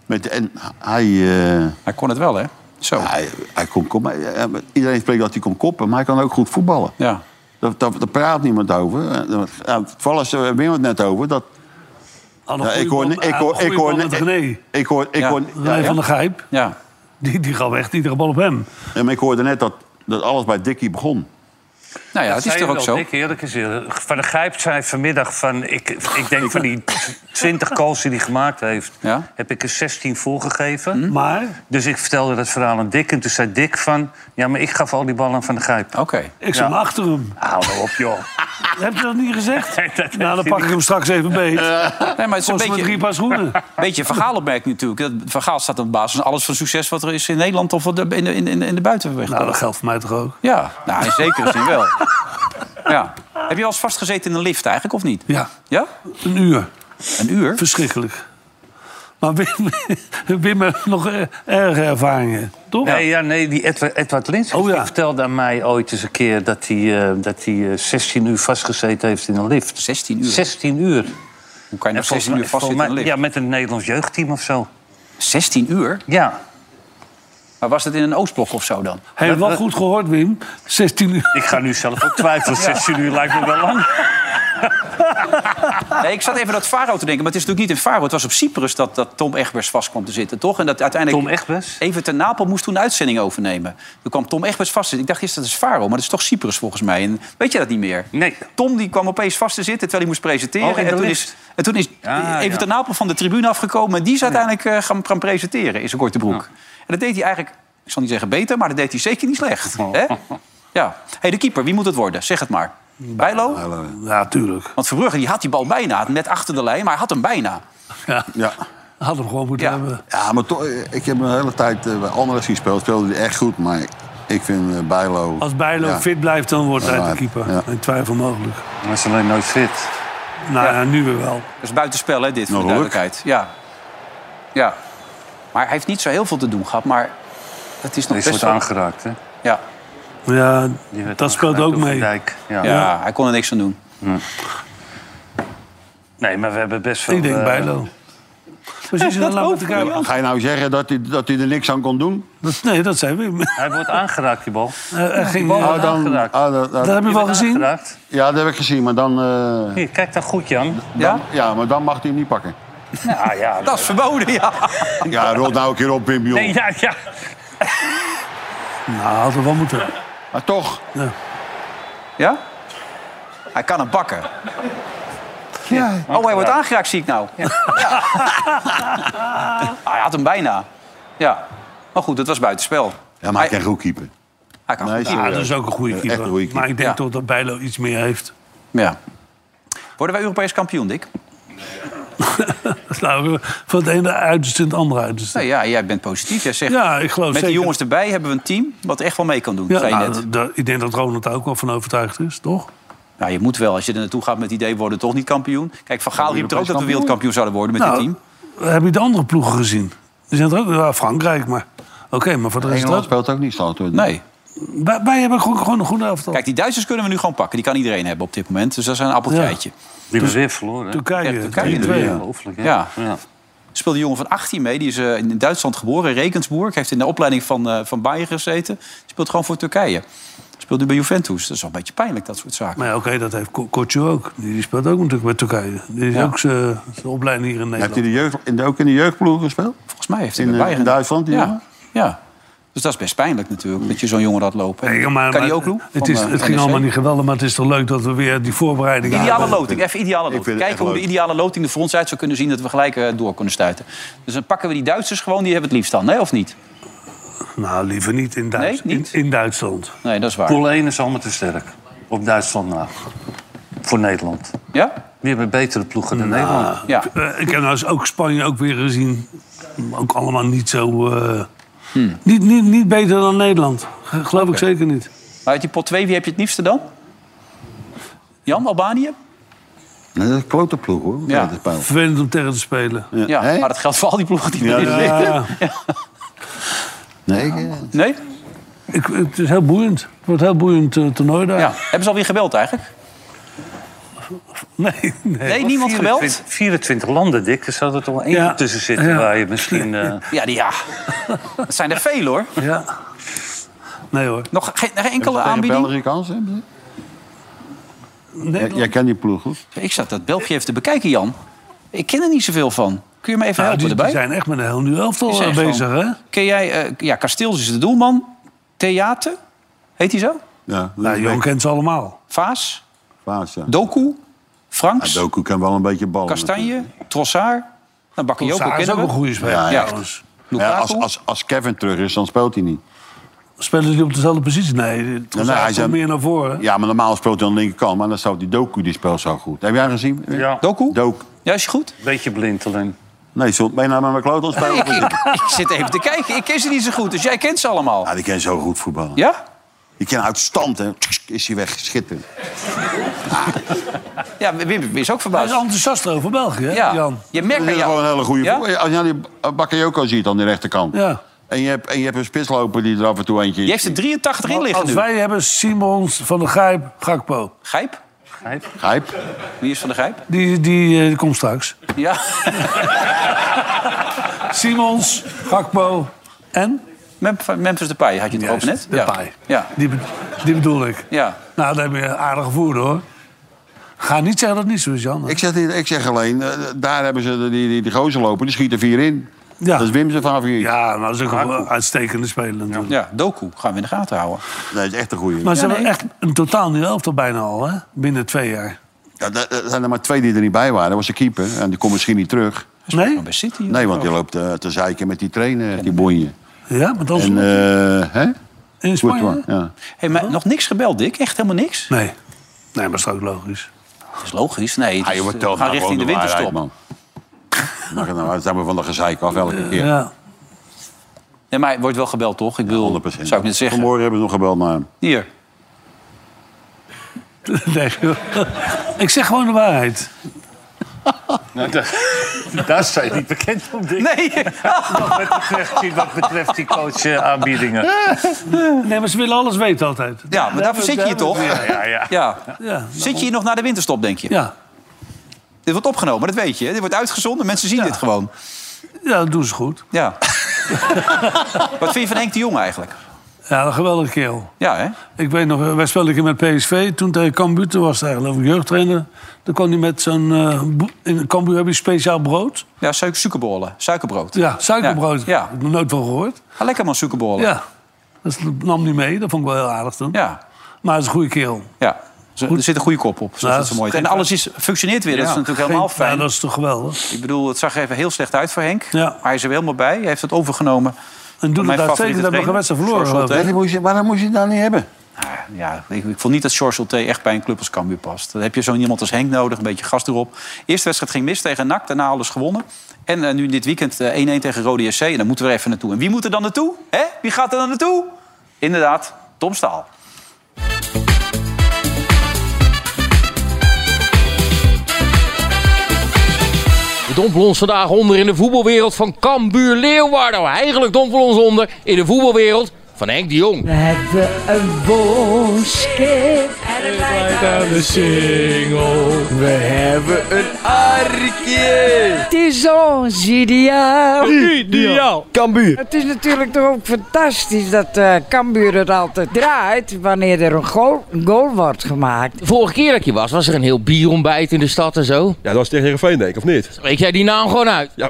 Speaker 3: Met, en hij, eh, oh,
Speaker 2: Hij kon het wel, hè? Zo.
Speaker 3: hij, hij kon koppen. Ja, maar Iedereen spreekt dat hij kon koppen, maar hij kan ook goed voetballen.
Speaker 2: Ja.
Speaker 3: Daar, daar- daar praat niemand over. Ja, Vallen ze hebben het net over. Dat,
Speaker 5: Had een goede
Speaker 3: ja, Nou, ik hoor,
Speaker 5: bal-
Speaker 3: ik
Speaker 5: had
Speaker 3: hoor,
Speaker 5: een
Speaker 3: ik
Speaker 5: goede
Speaker 3: hoor,
Speaker 5: bal met
Speaker 3: ik-
Speaker 5: René.
Speaker 3: ik hoor, ik
Speaker 2: Ja.
Speaker 3: hoor, ja,
Speaker 5: René van der Gijp.
Speaker 2: Ja.
Speaker 5: Die, die gaat weg, die gaat de bal op hem.
Speaker 3: ja, maar ik hoorde net dat, dat alles bij Dickie begon.
Speaker 2: Nou ja, het is
Speaker 4: Zei
Speaker 2: toch
Speaker 4: je
Speaker 2: ook zo?
Speaker 4: wel, Dick, eerlijk is eerlijk. Van der Gijp zei vanmiddag van... Ik, ik denk van die 20 calls die hij gemaakt heeft...
Speaker 2: Ja.
Speaker 4: heb ik er 16 voorgegeven.
Speaker 5: Maar
Speaker 4: Dus ik vertelde dat verhaal aan Dick. En toen zei Dick van... Ja, maar ik gaf al die ballen aan Van der Gijp.
Speaker 2: Oké.
Speaker 5: ik zat achter hem.
Speaker 4: Hou nou op, joh.
Speaker 5: Heb je dat niet gezegd?
Speaker 4: Nee, dat
Speaker 5: nou, dan
Speaker 4: heeft
Speaker 5: pak
Speaker 4: hij
Speaker 5: ik hem straks even beet.
Speaker 2: Nee, maar het is een
Speaker 5: Kost me drie
Speaker 2: beetje,
Speaker 5: paar schoenen.
Speaker 2: beetje vergaalopmerking natuurlijk. Dat vergaal staat aan de basis van alles van succes wat er is in Nederland of wat er in de, in de, in de buitenweg.
Speaker 5: Nou, dat geldt voor mij toch ook?
Speaker 2: Ja, nou, in zekere zin wel. Ja. Heb je al eens vastgezeten in een lift eigenlijk, of niet?
Speaker 5: Ja,
Speaker 2: Ja?
Speaker 5: een uur.
Speaker 2: Een uur?
Speaker 5: Verschrikkelijk. Maar Wim, Wim heeft nog eh, erge ervaringen, toch?
Speaker 4: Nee, ja, nee die Edward, Edward Lins
Speaker 5: Oh, ja.
Speaker 4: die vertelde aan mij ooit eens een keer... dat hij, eh, dat hij eh, 16 uur vastgezeten heeft in een lift.
Speaker 2: 16 uur.
Speaker 4: 16 uur. Nou,
Speaker 2: Hoe kan je nog 16 uur vastzitten in een lift?
Speaker 4: Ja, met een Nederlands jeugdteam of zo.
Speaker 2: 16 uur?
Speaker 4: Ja,
Speaker 2: Maar was dat in een Oostblok of zo dan?
Speaker 5: Hij heeft wel goed gehoord, Wim. 16 uur.
Speaker 4: ik ga nu zelf ook twijfelen. 16 uur lijkt me wel lang.
Speaker 2: Nee, ik zat even dat Faro te denken, maar het is natuurlijk niet in Faro. Het was op Cyprus dat, dat Tom Egbers vast kwam te zitten, toch? En dat uiteindelijk...
Speaker 4: Tom Egbers?
Speaker 2: Even ten Napel moest toen de uitzending overnemen. Toen kwam Tom Egbers vast te zitten. Ik dacht eerst dat is Faro, maar dat is toch Cyprus volgens mij. En weet je dat niet meer?
Speaker 4: Nee.
Speaker 2: Tom die kwam opeens vast te zitten terwijl hij moest presenteren.
Speaker 4: Oh, in de
Speaker 2: en, toen
Speaker 4: lift.
Speaker 2: is, en toen is
Speaker 4: Ja,
Speaker 2: even
Speaker 4: ja.
Speaker 2: ten Napel van de tribune afgekomen. En die is uiteindelijk eh, gaan, gaan presenteren in zijn korte broek. En dat deed hij eigenlijk, ik zal niet zeggen beter, maar dat deed hij zeker niet slecht.
Speaker 4: Oh.
Speaker 2: Hè? Ja. hey, de keeper, wie moet het worden? Zeg het maar. Bijlo?
Speaker 5: Ja, tuurlijk.
Speaker 2: Want Verbrugge die had die bal bijna, net achter de lijn, maar hij had hem bijna.
Speaker 5: Ja,
Speaker 3: Ja.
Speaker 5: had hem gewoon moeten
Speaker 2: Ja.
Speaker 5: hebben.
Speaker 3: Ja, maar toch, eh, ik heb een hele tijd eh, bij Anderlecht gespeeld. Speelde hij echt goed, maar ik vind eh, Bijlo...
Speaker 5: Als Bijlo
Speaker 3: Ja.
Speaker 5: fit blijft, dan wordt hij de
Speaker 3: Ja.
Speaker 5: keeper.
Speaker 3: Ja.
Speaker 5: In twijfel mogelijk.
Speaker 4: Hij is alleen nooit fit.
Speaker 5: Nou ja, nu weer wel.
Speaker 2: Dat is buitenspel, hè, dit, voor de
Speaker 3: Nou, geluk.
Speaker 2: duidelijkheid. Ja. ja. Maar hij heeft niet zo heel veel te doen gehad, maar het is nog
Speaker 4: Deze
Speaker 2: best
Speaker 4: wordt
Speaker 2: wel...
Speaker 4: aangeraakt, hè?
Speaker 2: Ja.
Speaker 5: Ja,
Speaker 4: Die werd
Speaker 5: dat speelt
Speaker 4: aangeraakt
Speaker 5: ook
Speaker 4: door Van
Speaker 5: mee.
Speaker 4: Dijk, Ja.
Speaker 2: Ja. hij kon er niks aan doen.
Speaker 4: Nee, maar we hebben best veel...
Speaker 5: Ik denk
Speaker 4: eh,
Speaker 5: Bijlo. Precies, dan laten we elkaar...
Speaker 3: Ga je nou zeggen dat hij, dat hij er niks aan kon doen?
Speaker 5: Dat- Nee, dat zijn Wim. Eh,
Speaker 4: Hij wordt aangeraakt, die bal.
Speaker 5: er ging-
Speaker 4: bal-
Speaker 5: eh,
Speaker 3: Oh, dan,
Speaker 4: aangeraakt.
Speaker 3: ah, dat- dat-
Speaker 5: Dat heb je wel
Speaker 4: Wordt
Speaker 5: gezien?
Speaker 4: aangeraakt.
Speaker 3: ja, dat heb ik gezien, maar dan... eh,
Speaker 4: Hier, kijk dan goed, Jan.
Speaker 2: Ja?
Speaker 3: ja, maar dan mag hij hem niet pakken.
Speaker 4: Ja, ja.
Speaker 2: Dat is verboden, ja.
Speaker 3: Ja, rot nou een keer op, Wim, joh.
Speaker 4: Nee, ja, ja.
Speaker 5: Nou, had er wel moeten.
Speaker 3: Maar toch,
Speaker 2: Ja? Hij kan hem bakken. Oh, hij wordt aangeraakt, zie ik nou. Ja. Hij had hem bijna. Ja. Maar goed, het was buitenspel.
Speaker 3: ja, maar hij
Speaker 2: hij,
Speaker 3: kan goed keeper.
Speaker 2: hij kan
Speaker 3: Nee,
Speaker 2: goed
Speaker 5: Ja, dus-
Speaker 3: serieus.
Speaker 5: Ah, dat is ook een goede
Speaker 3: Echt een goede
Speaker 5: keeper.
Speaker 3: keeper.
Speaker 5: Maar ik denk
Speaker 2: Ja.
Speaker 5: toch dat Bijlo iets meer heeft.
Speaker 2: Ja. Worden wij Europees kampioen, Dick?
Speaker 5: Dat is nou, eh, van het ene uiterste in het andere uiterste.
Speaker 2: Nee, ja, jij bent positief. Jij zegt,
Speaker 5: Ja, ik geloof
Speaker 2: met
Speaker 5: zeker.
Speaker 2: die jongens erbij hebben we een team wat echt wel mee kan doen.
Speaker 5: Ja,
Speaker 2: zei je
Speaker 5: nou,
Speaker 2: net.
Speaker 5: dat- dat- ik denk dat Ronald daar ook wel van overtuigd is, toch?
Speaker 2: Nou, je moet wel, als je er naartoe gaat met het idee, we worden toch niet kampioen. Kijk, Van Gaal riep er ook dat we
Speaker 3: kampioen.
Speaker 2: wereldkampioen zouden worden met
Speaker 5: nou,
Speaker 2: dit team.
Speaker 5: heb je de andere ploegen gezien? Die zijn er ook, ja, Frankrijk, maar... Oké, maar voor de rest...
Speaker 3: Engeland
Speaker 5: Ook,
Speaker 3: speelt ook niet slecht, hoor.
Speaker 2: Nee.
Speaker 5: wij, wij hebben gewoon, gewoon een goede elftal.
Speaker 2: Kijk, die Duitsers kunnen we nu gewoon pakken. Die kan iedereen hebben op dit moment. Dus dat is een appeltje
Speaker 5: Ja.
Speaker 2: eitje.
Speaker 4: Die was weer verloren. hè?
Speaker 2: Echt,
Speaker 5: Turkije,
Speaker 2: Turkije
Speaker 5: 3-2.
Speaker 2: natuurlijk.
Speaker 4: Ongelooflijk, hè?
Speaker 2: Ja. Speelde een jongen van 18 mee. Die is eh, in Duitsland geboren, Regensburg. Heeft in de opleiding van, eh van Bayern gezeten. Speelt gewoon voor Turkije. Speelt nu bij Juventus. Dat is wel een beetje pijnlijk, dat soort zaken.
Speaker 5: Maar ja, oké, dat heeft Ko- Kotje ook. Die, die speelt ook natuurlijk bij Turkije. Die is
Speaker 2: Ja.
Speaker 5: ook zijn zijn opleiding hier in
Speaker 3: Heeft hij
Speaker 5: Nederland.
Speaker 3: de jeugd, in de, ook in de jeugdploeg gespeeld?
Speaker 2: Volgens mij heeft hij
Speaker 3: In,
Speaker 2: bij
Speaker 3: eh,
Speaker 2: Bayern.
Speaker 3: in Duitsland, die
Speaker 2: ja.
Speaker 3: jongen?
Speaker 2: ja. Dus dat is best pijnlijk natuurlijk, dat je zo'n jongen laat lopen. eh, En
Speaker 5: Nee, maar-
Speaker 2: kan
Speaker 5: maar-
Speaker 2: die ook doen?
Speaker 5: Het, is, het ging allemaal niet geweldig, maar het is toch leuk dat we weer die voorbereiding
Speaker 2: Ideale
Speaker 5: hebben.
Speaker 2: loting, even ideale loting.
Speaker 3: vind het echt
Speaker 2: Kijken hoe de
Speaker 3: leuk.
Speaker 2: ideale loting er voor ons uit zou kunnen zien... dat we gelijk eh, door kunnen stuiten. Dus dan pakken we die Duitsers gewoon, die hebben het liefst dan, hè? of niet?
Speaker 5: Nou, liever niet in, Duits,
Speaker 2: Nee, niet?
Speaker 5: In, in Duitsland.
Speaker 2: Nee, dat is waar.
Speaker 4: Pool 1 is allemaal te sterk. Op Duitsland na. Voor Nederland.
Speaker 2: Ja?
Speaker 4: Die hebben betere ploegen dan Nederland.
Speaker 2: Ja.
Speaker 5: Eh, ik heb nou eens ook Spanje ook weer gezien. Ook allemaal niet zo... eh,
Speaker 2: Hmm.
Speaker 5: niet, niet, niet beter dan Nederland. Ge- Geloof ik zeker niet.
Speaker 2: Maar uit die pot 2, wie heb je het liefste dan? Jan, Albanië?
Speaker 3: Nee, dat is een klote ploeg, hoor.
Speaker 2: Ja.
Speaker 3: Dat is
Speaker 5: Vervelend om tegen te spelen.
Speaker 3: pijl.
Speaker 2: Ja,
Speaker 3: Hè?
Speaker 2: maar dat geldt voor al die ploegen die
Speaker 3: Ja,
Speaker 2: erin
Speaker 3: ja.
Speaker 2: zitten.
Speaker 5: Ja.
Speaker 3: Nee, ik, eh,
Speaker 2: Nee?
Speaker 5: ik, het is heel boeiend. Het wordt een heel boeiend eh, toernooi daar.
Speaker 2: Ja. Hebben ze alweer gebeld eigenlijk?
Speaker 5: Nee, nee.
Speaker 2: Nee, niemand gebeld?
Speaker 4: 24, 24 landen, Dick. Er zou er toch wel één
Speaker 5: Ja.
Speaker 4: tussen zitten
Speaker 5: Ja.
Speaker 4: waar je misschien... eh,
Speaker 2: Ja, die, ja. dat zijn er veel hoor.
Speaker 5: Ja. Nee hoor.
Speaker 2: Nog geen, geen enkele
Speaker 3: Tegen
Speaker 2: aanbieding?
Speaker 3: België kans hebben ze?
Speaker 5: Nee,
Speaker 3: Jij- Jij kent die ploeg goed.
Speaker 2: Ik zat dat België even te bekijken, Jan. Ik ken er niet zoveel van. Kun je me even
Speaker 5: nou,
Speaker 2: helpen
Speaker 5: die, die
Speaker 2: erbij?
Speaker 5: zijn echt met een heel nieuw
Speaker 2: Die
Speaker 5: elftal
Speaker 2: zijn
Speaker 5: eh,
Speaker 2: gewoon-
Speaker 5: bezig, hè?
Speaker 2: Ken jij... eh, ja, Kasteels is de doelman. Theater. Heet hij zo?
Speaker 3: Ja,
Speaker 5: Nou, Jon kent ze allemaal.
Speaker 2: Vaas.
Speaker 3: Vaas, ja.
Speaker 2: Doku.
Speaker 3: Ja,
Speaker 2: Franks.
Speaker 3: Doku kan wel een beetje ballen.
Speaker 2: Kastanje. Trossard. Nou, Bakayoko
Speaker 5: Saar is
Speaker 2: kennen
Speaker 5: ook
Speaker 2: we.
Speaker 5: een goede speler.
Speaker 3: Ja,
Speaker 2: ja.
Speaker 5: trouwens.
Speaker 3: natuurlijk. Ja, als,
Speaker 2: Lukaku.
Speaker 3: als, als Kevin terug is, dan speelt hij niet.
Speaker 5: Spelen die op dezelfde positie? Nee,
Speaker 3: nee,
Speaker 2: Nou,
Speaker 5: Trossard
Speaker 3: hij
Speaker 5: komt
Speaker 3: zijn-
Speaker 5: meer naar voren.
Speaker 3: Ja, maar normaal speelt hij aan de linkerkant. Maar dan zou die Doku, die speelt zo goed. Heb jij hem gezien?
Speaker 4: ja, een
Speaker 2: Doku.
Speaker 3: Doku.
Speaker 2: Ja, is je goed?
Speaker 4: beetje blind alleen.
Speaker 3: Nee, je zult bijna met mijn kloot aan spelen.
Speaker 2: Ik, ik, ik zit even te kijken. Ik ken ze niet zo goed, dus jij kent ze allemaal.
Speaker 3: Ja, die kan zo goed voetballen.
Speaker 2: Ja?
Speaker 3: Die kan uitstand en is hij weg. Schitterend.
Speaker 2: Ja, Wim is ook
Speaker 5: Hij is
Speaker 2: verbaasd.
Speaker 5: enthousiast over België, hè,
Speaker 2: Ja,
Speaker 5: Jan?
Speaker 2: je
Speaker 3: Dat
Speaker 2: merkt
Speaker 3: is
Speaker 2: aan jou-
Speaker 3: gewoon een hele goede
Speaker 2: Ja?
Speaker 3: voetballer. Als je nou die Bakayoko ziet aan die rechterkant.
Speaker 5: Ja.
Speaker 3: En, je hebt, en je hebt een spitsloper die er af en toe eentje
Speaker 2: Je heeft er 83 in liggen
Speaker 5: Als
Speaker 2: nu.
Speaker 5: wij hebben Simons, Van der Gijp, Gakpo.
Speaker 2: Gijp?
Speaker 3: Grijp.
Speaker 2: Wie is van de Gijp?
Speaker 5: Die, die, eh, komt straks.
Speaker 2: Ja.
Speaker 5: Simons, Gakpo en?
Speaker 2: Mem- Memphis Depay had je het over net?
Speaker 5: Juist, Depay.
Speaker 2: Ja.
Speaker 5: Die, be- die bedoel ik.
Speaker 2: Ja.
Speaker 5: Nou, daar heb je aardige voer hoor. Ga niet zeggen dat het niet zo is, Jan.
Speaker 3: Ik zeg, niet- ik zeg alleen, eh, daar hebben ze de- die, die, die gozer lopen. Die schiet er vier in.
Speaker 5: Ja.
Speaker 3: Dat is Wim zijn favoriet.
Speaker 5: Ja, maar dat is ook een uitstekende speler natuurlijk.
Speaker 2: ja, Doku gaan we in de gaten houden.
Speaker 3: Nee, dat is echt een goeie.
Speaker 5: Maar ze
Speaker 2: Ja,
Speaker 5: hebben
Speaker 2: nee.
Speaker 5: echt een totaal nieuw elftal bijna al, hè? Binnen twee jaar.
Speaker 3: Ja, dat- dat zijn er maar twee die er niet bij waren. Dat was de keeper. En die komt misschien niet terug.
Speaker 5: Nee?
Speaker 2: Maar bij City?
Speaker 3: Nee, want die loopt eh, te zeiken met die trainer, die bonje.
Speaker 5: Ja, maar dat is
Speaker 3: En, eh hè?
Speaker 5: in Spanje?
Speaker 3: Courtois, ja.
Speaker 2: Hey, maar nog niks gebeld, Dick? Echt helemaal niks?
Speaker 5: Nee. Nee, maar dat is ook logisch.
Speaker 2: Dat is logisch. Nee, het
Speaker 3: Ah,
Speaker 2: is- eh,
Speaker 3: je wordt telt
Speaker 2: we gaan
Speaker 3: nou
Speaker 2: richting de
Speaker 3: gewoon waarheid,
Speaker 2: winterstop.
Speaker 3: man. Nou, nou, daar zijn we van de gezeik af elke keer.
Speaker 5: Ja.
Speaker 2: nee, maar het wordt wel gebeld, toch? Ik bedoel,
Speaker 3: 100%.
Speaker 2: zou ik net zeggen.
Speaker 3: Vanmorgen hebben ze nog gebeld naar hem.
Speaker 2: Hier.
Speaker 5: Nee, joh. ik zeg gewoon de waarheid.
Speaker 4: Nou, daar, daar zijn niet bekend om, Dick.
Speaker 2: Nee,
Speaker 4: Wat betreft, die- wat betreft die coach eh, aanbiedingen.
Speaker 5: Nee, maar ze willen alles weten altijd.
Speaker 2: ja, maar daarvoor zit je hier toch?
Speaker 4: Ja, ja, ja.
Speaker 2: Ja.
Speaker 5: Ja.
Speaker 2: Zit je hier nog naar de winterstop, denk je?
Speaker 5: Ja.
Speaker 2: Dit wordt opgenomen, dat weet je. hè? Dit wordt uitgezonden, mensen zien dit gewoon.
Speaker 5: ja, dat doen ze goed.
Speaker 2: Ja. Wat vind je van Henk de Jong eigenlijk?
Speaker 5: Ja, een geweldige kerel.
Speaker 2: Ja, hè?
Speaker 5: Ik weet nog, eh, wij speelden een keer met PSV. Toen tegen Cambuur, toen was hij geloof ik jeugdtrainer. Toen kwam hij met zo'n... eh, bo- in Cambuur heb je speciaal brood.
Speaker 2: Ja, suik- suikerbollen, suikerbrood.
Speaker 5: Ja, suikerbrood.
Speaker 2: Ja.
Speaker 5: Ja. Heb ik nog nooit van gehoord.
Speaker 2: Ah, lekker man, suikerbollen. Ja.
Speaker 5: Ja. Dat nam hij mee. Dat vond ik wel heel aardig toen.
Speaker 2: ja.
Speaker 5: Maar hij is een goede kerel.
Speaker 2: Ze- Er zit een goede kop op, zoals
Speaker 5: Ja,
Speaker 2: het zo mooi
Speaker 5: geen
Speaker 2: En alles is, functioneert weer, dat is natuurlijk helemaal
Speaker 5: Geen-
Speaker 2: fijn.
Speaker 5: Ja, dat is toch geweldig.
Speaker 2: Ik bedoel, het zag er even heel slecht uit voor Henk.
Speaker 5: Ja.
Speaker 2: Maar hij is er weer helemaal bij. Hij heeft het overgenomen.
Speaker 5: En doet
Speaker 2: Mijn
Speaker 5: het uitstekend.
Speaker 2: favoriete
Speaker 5: Dat we
Speaker 2: trainer,
Speaker 5: geen wedstrijd verloren.
Speaker 2: George
Speaker 5: geloof ik.
Speaker 3: Nee, die moest je, waarom moest je het nou niet hebben?
Speaker 2: Ah, Ja, ik, ik vond niet dat George T echt bij een club als Cambuur past. Dan heb je zo'n iemand als Henk nodig, een beetje gas erop. Eerste wedstrijd ging mis tegen NAC, daarna alles gewonnen. En eh, nu dit weekend eh, 1-1 tegen Rode SC. En dan moeten we er even naartoe. En wie moet er dan naartoe? Hè? Wie gaat er dan naartoe? Inderdaad, Tom Staal.
Speaker 11: Dompel ons vandaag onder in de voetbalwereld van Cambuur Leeuwarden. Eigenlijk dompel ons onder in de voetbalwereld van Henk de Jong.
Speaker 9: Het is ons ideaal.
Speaker 11: Ideaal. Cambuur.
Speaker 9: Het is natuurlijk toch ook fantastisch dat eh Cambuur er altijd draait wanneer er een goal, een goal wordt gemaakt.
Speaker 11: De vorige keer dat ik hier was, was er een heel bierontbijt in de stad en zo.
Speaker 10: Ja, dat was tegen Heerenveen, denk ik, of niet?
Speaker 11: Spreek jij die naam gewoon uit?
Speaker 10: Ja.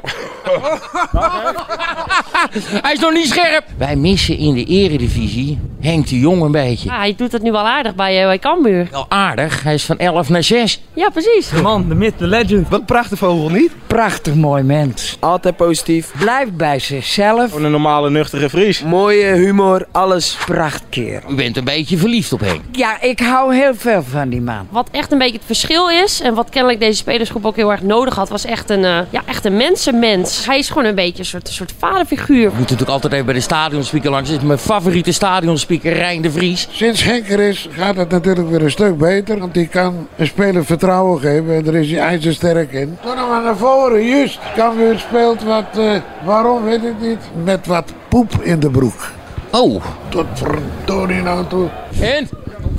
Speaker 11: Hij is nog niet scherp. Wij missen in de eredivisie Henk de Jong een beetje.
Speaker 9: hij doet dat nu wel aardig bij, eh, bij Cambuur.
Speaker 11: Wel aardig, hij is van 11 naar 6.
Speaker 9: Ja, precies.
Speaker 11: Man, de myth, de legend. Wat een prachtige vogel, niet?
Speaker 9: Prachtig mooi mens.
Speaker 11: Altijd positief.
Speaker 9: Blijft bij zichzelf.
Speaker 11: Een normale, nuchtere Fries.
Speaker 9: Mooie humor, alles. Prachtkeer.
Speaker 11: U bent een beetje verliefd op Henk.
Speaker 9: Ja, ik hou heel veel van die man.
Speaker 12: Wat echt een beetje het verschil is en wat kennelijk deze spelersgroep ook heel erg nodig had, was echt een, eh, ja, echt een mensenmens. Hij is gewoon een beetje een soort, een soort vaderfiguur.
Speaker 11: Ik moet natuurlijk altijd even bij de stadionspeaker langs. Dit is mijn favoriete stadionspeaker, Rijn de Vries.
Speaker 10: Sinds Henker is, gaat het natuurlijk weer een stuk beter. Want die kan een speler vertrouwen geven. En daar is hij ijzersterk in. Toen hem maar naar voren, juist. Cambuur speelt wat, eh, waarom weet ik niet, met wat poep in de broek.
Speaker 11: Oh.
Speaker 10: Tot verdorie nou toe.
Speaker 11: En?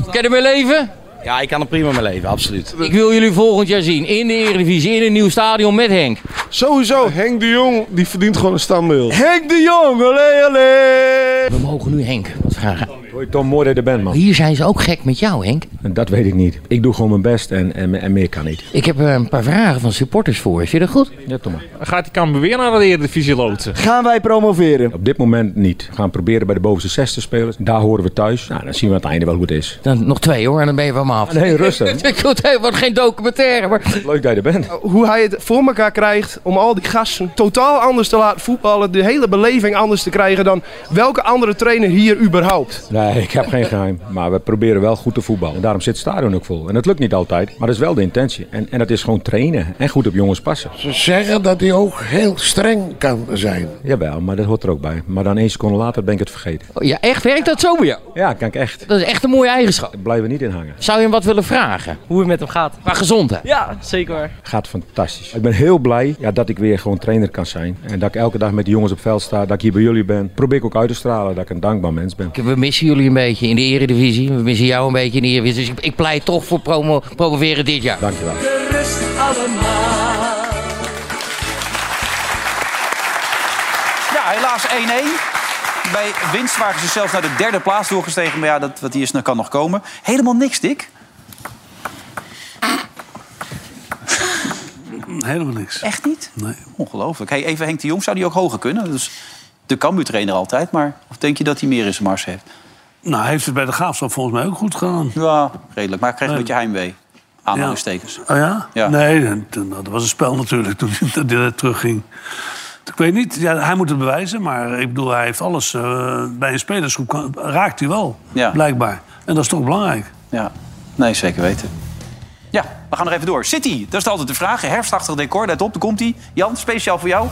Speaker 11: Kan je ermee leven?
Speaker 13: Ja, ik kan er prima mee leven, absoluut.
Speaker 11: Ik wil jullie volgend jaar zien in de Eredivisie, in een nieuw stadion met Henk.
Speaker 14: Sowieso, Henk de Jong die verdient gewoon een standbeeld.
Speaker 11: Henk de Jong, olé olé! We mogen nu Henk wat vragen.
Speaker 15: Hoi Tom, mooi dat je er bent man.
Speaker 11: Hier zijn ze ook gek met jou Henk.
Speaker 15: Dat weet ik niet. Ik doe gewoon mijn best en, en, en meer kan niet.
Speaker 11: Ik heb eh, een paar vragen van supporters voor je. Vind je dat goed?
Speaker 15: Ja, Tom. maar.
Speaker 16: Gaat die Cambuur weer naar de Eredivisie loodsen?
Speaker 15: Gaan wij promoveren? Op dit moment niet. We gaan proberen bij de bovenste 60 spelers. Daar horen we thuis. Nou, dan zien we aan het einde wel hoe het is.
Speaker 11: Dan nog twee hoor en dan ben je van me af.
Speaker 15: Nee, rustig.
Speaker 11: Ik wil het wordt geen documentaire. Maar...
Speaker 15: Leuk dat je er bent.
Speaker 14: Hoe hij het voor elkaar krijgt om al die gasten totaal anders te laten voetballen. De hele beleving anders te krijgen dan welke andere trainer hier überhaupt.
Speaker 15: Nee, ik heb geen geheim. Maar we proberen wel goed te voetballen. En daarom zit het stadion ook vol. En dat lukt niet altijd. Maar dat is wel de intentie. En, en dat is gewoon trainen. En goed op jongens passen.
Speaker 10: Ze zeggen dat hij ook heel streng kan zijn.
Speaker 15: Jawel, maar dat hoort er ook bij. Maar dan één seconde later ben ik het vergeten.
Speaker 11: Oh, ja, echt? Werkt dat zo bij jou?
Speaker 15: Ja, kan ik echt.
Speaker 11: Dat is echt een mooie eigenschap.
Speaker 15: Daar blijven we niet in hangen.
Speaker 11: Zou je hem wat willen vragen? Hoe het met hem gaat? Qua gezondheid.
Speaker 16: Ja, zeker.
Speaker 15: Gaat fantastisch. Ik ben heel blij ja, dat ik weer gewoon trainer kan zijn. En dat ik elke dag met de jongens op veld sta. Dat ik hier bij jullie ben. Probeer ik ook uit te stralen dat ik een dankbaar mens ben.
Speaker 11: We missen jullie een beetje in de Eredivisie. We missen jou een beetje in de Eredivisie. Dus ik, ik pleit toch voor promo, promoveren dit jaar.
Speaker 15: Dankjewel.
Speaker 17: Rust allemaal.
Speaker 2: Ja, helaas 1-1. Bij winst waren ze zelfs naar de derde plaats doorgestegen. Maar ja, dat wat hier is, dat kan nog komen. Helemaal niks, Dick.
Speaker 5: Helemaal niks.
Speaker 2: Echt niet? Nee. Ongelooflijk. Hey, even Henk de Jong, zou die ook hoger kunnen? Dus de Cambuur-trainer altijd. Maar of denk je dat hij meer in zijn mars heeft?
Speaker 5: Nou, hij heeft het bij de Graafschap volgens mij ook goed gedaan.
Speaker 2: Ja, redelijk. Maar ik kreeg een
Speaker 5: Nee.
Speaker 2: beetje heimwee. Aanhalingstekens.
Speaker 5: Oh ja?
Speaker 2: Ja.
Speaker 5: Nee, dat- dat was een spel natuurlijk toen hij- dat hij er terugging. Ik weet niet, ja, hij moet het bewijzen, maar ik bedoel, hij heeft alles. eh, bij een spelersgroep kan- raakt hij wel,
Speaker 2: Ja.
Speaker 5: blijkbaar. En dat is toch belangrijk.
Speaker 2: Ja, nee, zeker weten. Ja, we gaan nog even door. City, dat is altijd de vraag. Herfstachtig decor, let op, daar komt hij. Jan, speciaal voor jou.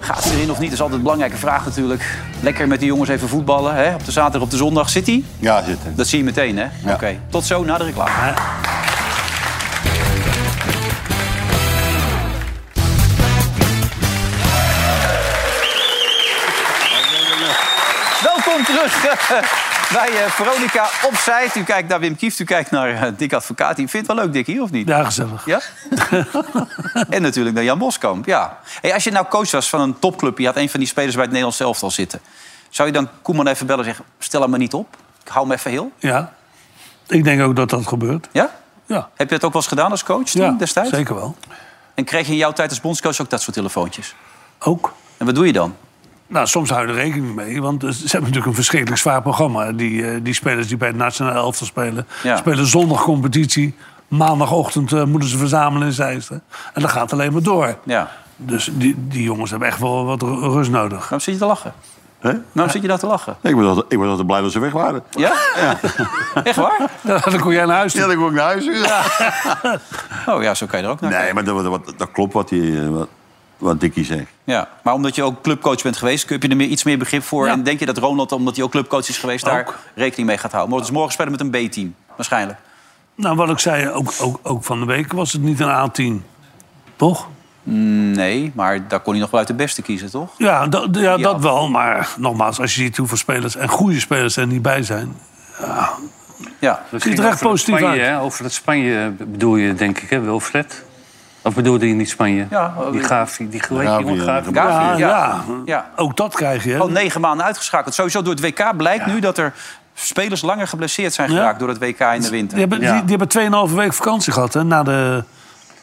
Speaker 2: Gaat ze erin of niet? Dat is altijd een belangrijke vraag natuurlijk. Lekker met die jongens even voetballen, hè? Op de zaterdag, op de zondag. City?
Speaker 3: Ja, zitten.
Speaker 2: Dat zie je meteen, hè? Oké, tot zo na de reclame. Welkom terug eh, bij eh, Veronica Opzijt. U kijkt naar Wim Kieft, u kijkt naar eh, Dick Advocaat. U vindt het wel leuk, Dick, hier, of niet?
Speaker 5: Ja, gezellig.
Speaker 2: Ja? en natuurlijk naar Jan Boskamp, ja. Hey, als je nou coach was van een topclub... je had een van die spelers bij het Nederlands elftal zitten... zou je dan Koeman even bellen en zeggen... stel hem maar niet op, ik hou hem even heel?
Speaker 5: Ja. Ik denk ook dat dat gebeurt.
Speaker 2: Ja?
Speaker 5: Ja.
Speaker 2: Heb je dat ook wel eens gedaan als coach toen,
Speaker 5: Ja,
Speaker 2: destijds?
Speaker 5: zeker wel.
Speaker 2: En kreeg je in jouw tijd als bondscoach ook dat soort telefoontjes?
Speaker 5: Ook.
Speaker 2: En wat doe je dan?
Speaker 5: Nou, soms hou je er rekening mee, want eh, ze hebben natuurlijk een verschrikkelijk zwaar programma. Die, eh, die spelers die bij het nationale elftal spelen,
Speaker 2: Ja.
Speaker 5: spelen zondag competitie. Maandagochtend eh, moeten ze verzamelen in Zeisten. En dat gaat alleen maar door.
Speaker 2: Ja.
Speaker 5: Dus die, die jongens hebben echt wel wat ru- rust nodig.
Speaker 2: Waarom zit je te lachen?
Speaker 3: Hè?
Speaker 2: Waarom zit je daar te lachen?
Speaker 3: Ik was, altijd, ik was altijd blij dat ze weg waren.
Speaker 2: Ja? Echt waar?
Speaker 5: dan kon jij naar huis
Speaker 3: Ja, dan kon ik naar huis.
Speaker 2: Oh ja, zo kan je er ook naar
Speaker 3: Nee, maar dat, dat, dat klopt wat, die, wat, wat Dickie zegt.
Speaker 2: Ja, maar omdat je ook clubcoach bent geweest, heb je er meer, iets meer begrip voor. En denk je dat Ronald, omdat hij ook clubcoach is geweest, daar rekening mee gaat houden? Maar dus morgen spelen met een B-team, waarschijnlijk.
Speaker 5: Nou, wat ik zei, ook, ook, ook van de week was het niet een A10. Toch?
Speaker 2: Mm, Nee, maar daar kon hij nog wel uit de beste kiezen, toch?
Speaker 5: Ja, dat- ja, dat wel. Maar nogmaals, als je ziet hoeveel spelers en goede spelers er niet bij zijn.
Speaker 2: Ja.
Speaker 5: Ziet er echt positief
Speaker 4: Spanje,
Speaker 5: uit.
Speaker 4: Hè? Over het Spanje bedoel je, denk ik, hè, Wilfred? Of bedoelde je niet Spanje?
Speaker 2: Ja, eh,
Speaker 4: die Gavi, die hoe heet die
Speaker 3: eh,
Speaker 4: jongen? Gavi.
Speaker 2: Gavi, ja.
Speaker 5: ja.
Speaker 2: Ja.
Speaker 5: Ook dat krijg je. hè?
Speaker 2: Al Oh, negen maanden uitgeschakeld. Sowieso door het WK blijkt nu dat er spelers langer geblesseerd zijn geraakt door het WK in de winter.
Speaker 5: Die hebben,
Speaker 2: Ja.
Speaker 5: die, die hebben 2,5 week vakantie gehad hè, na, de,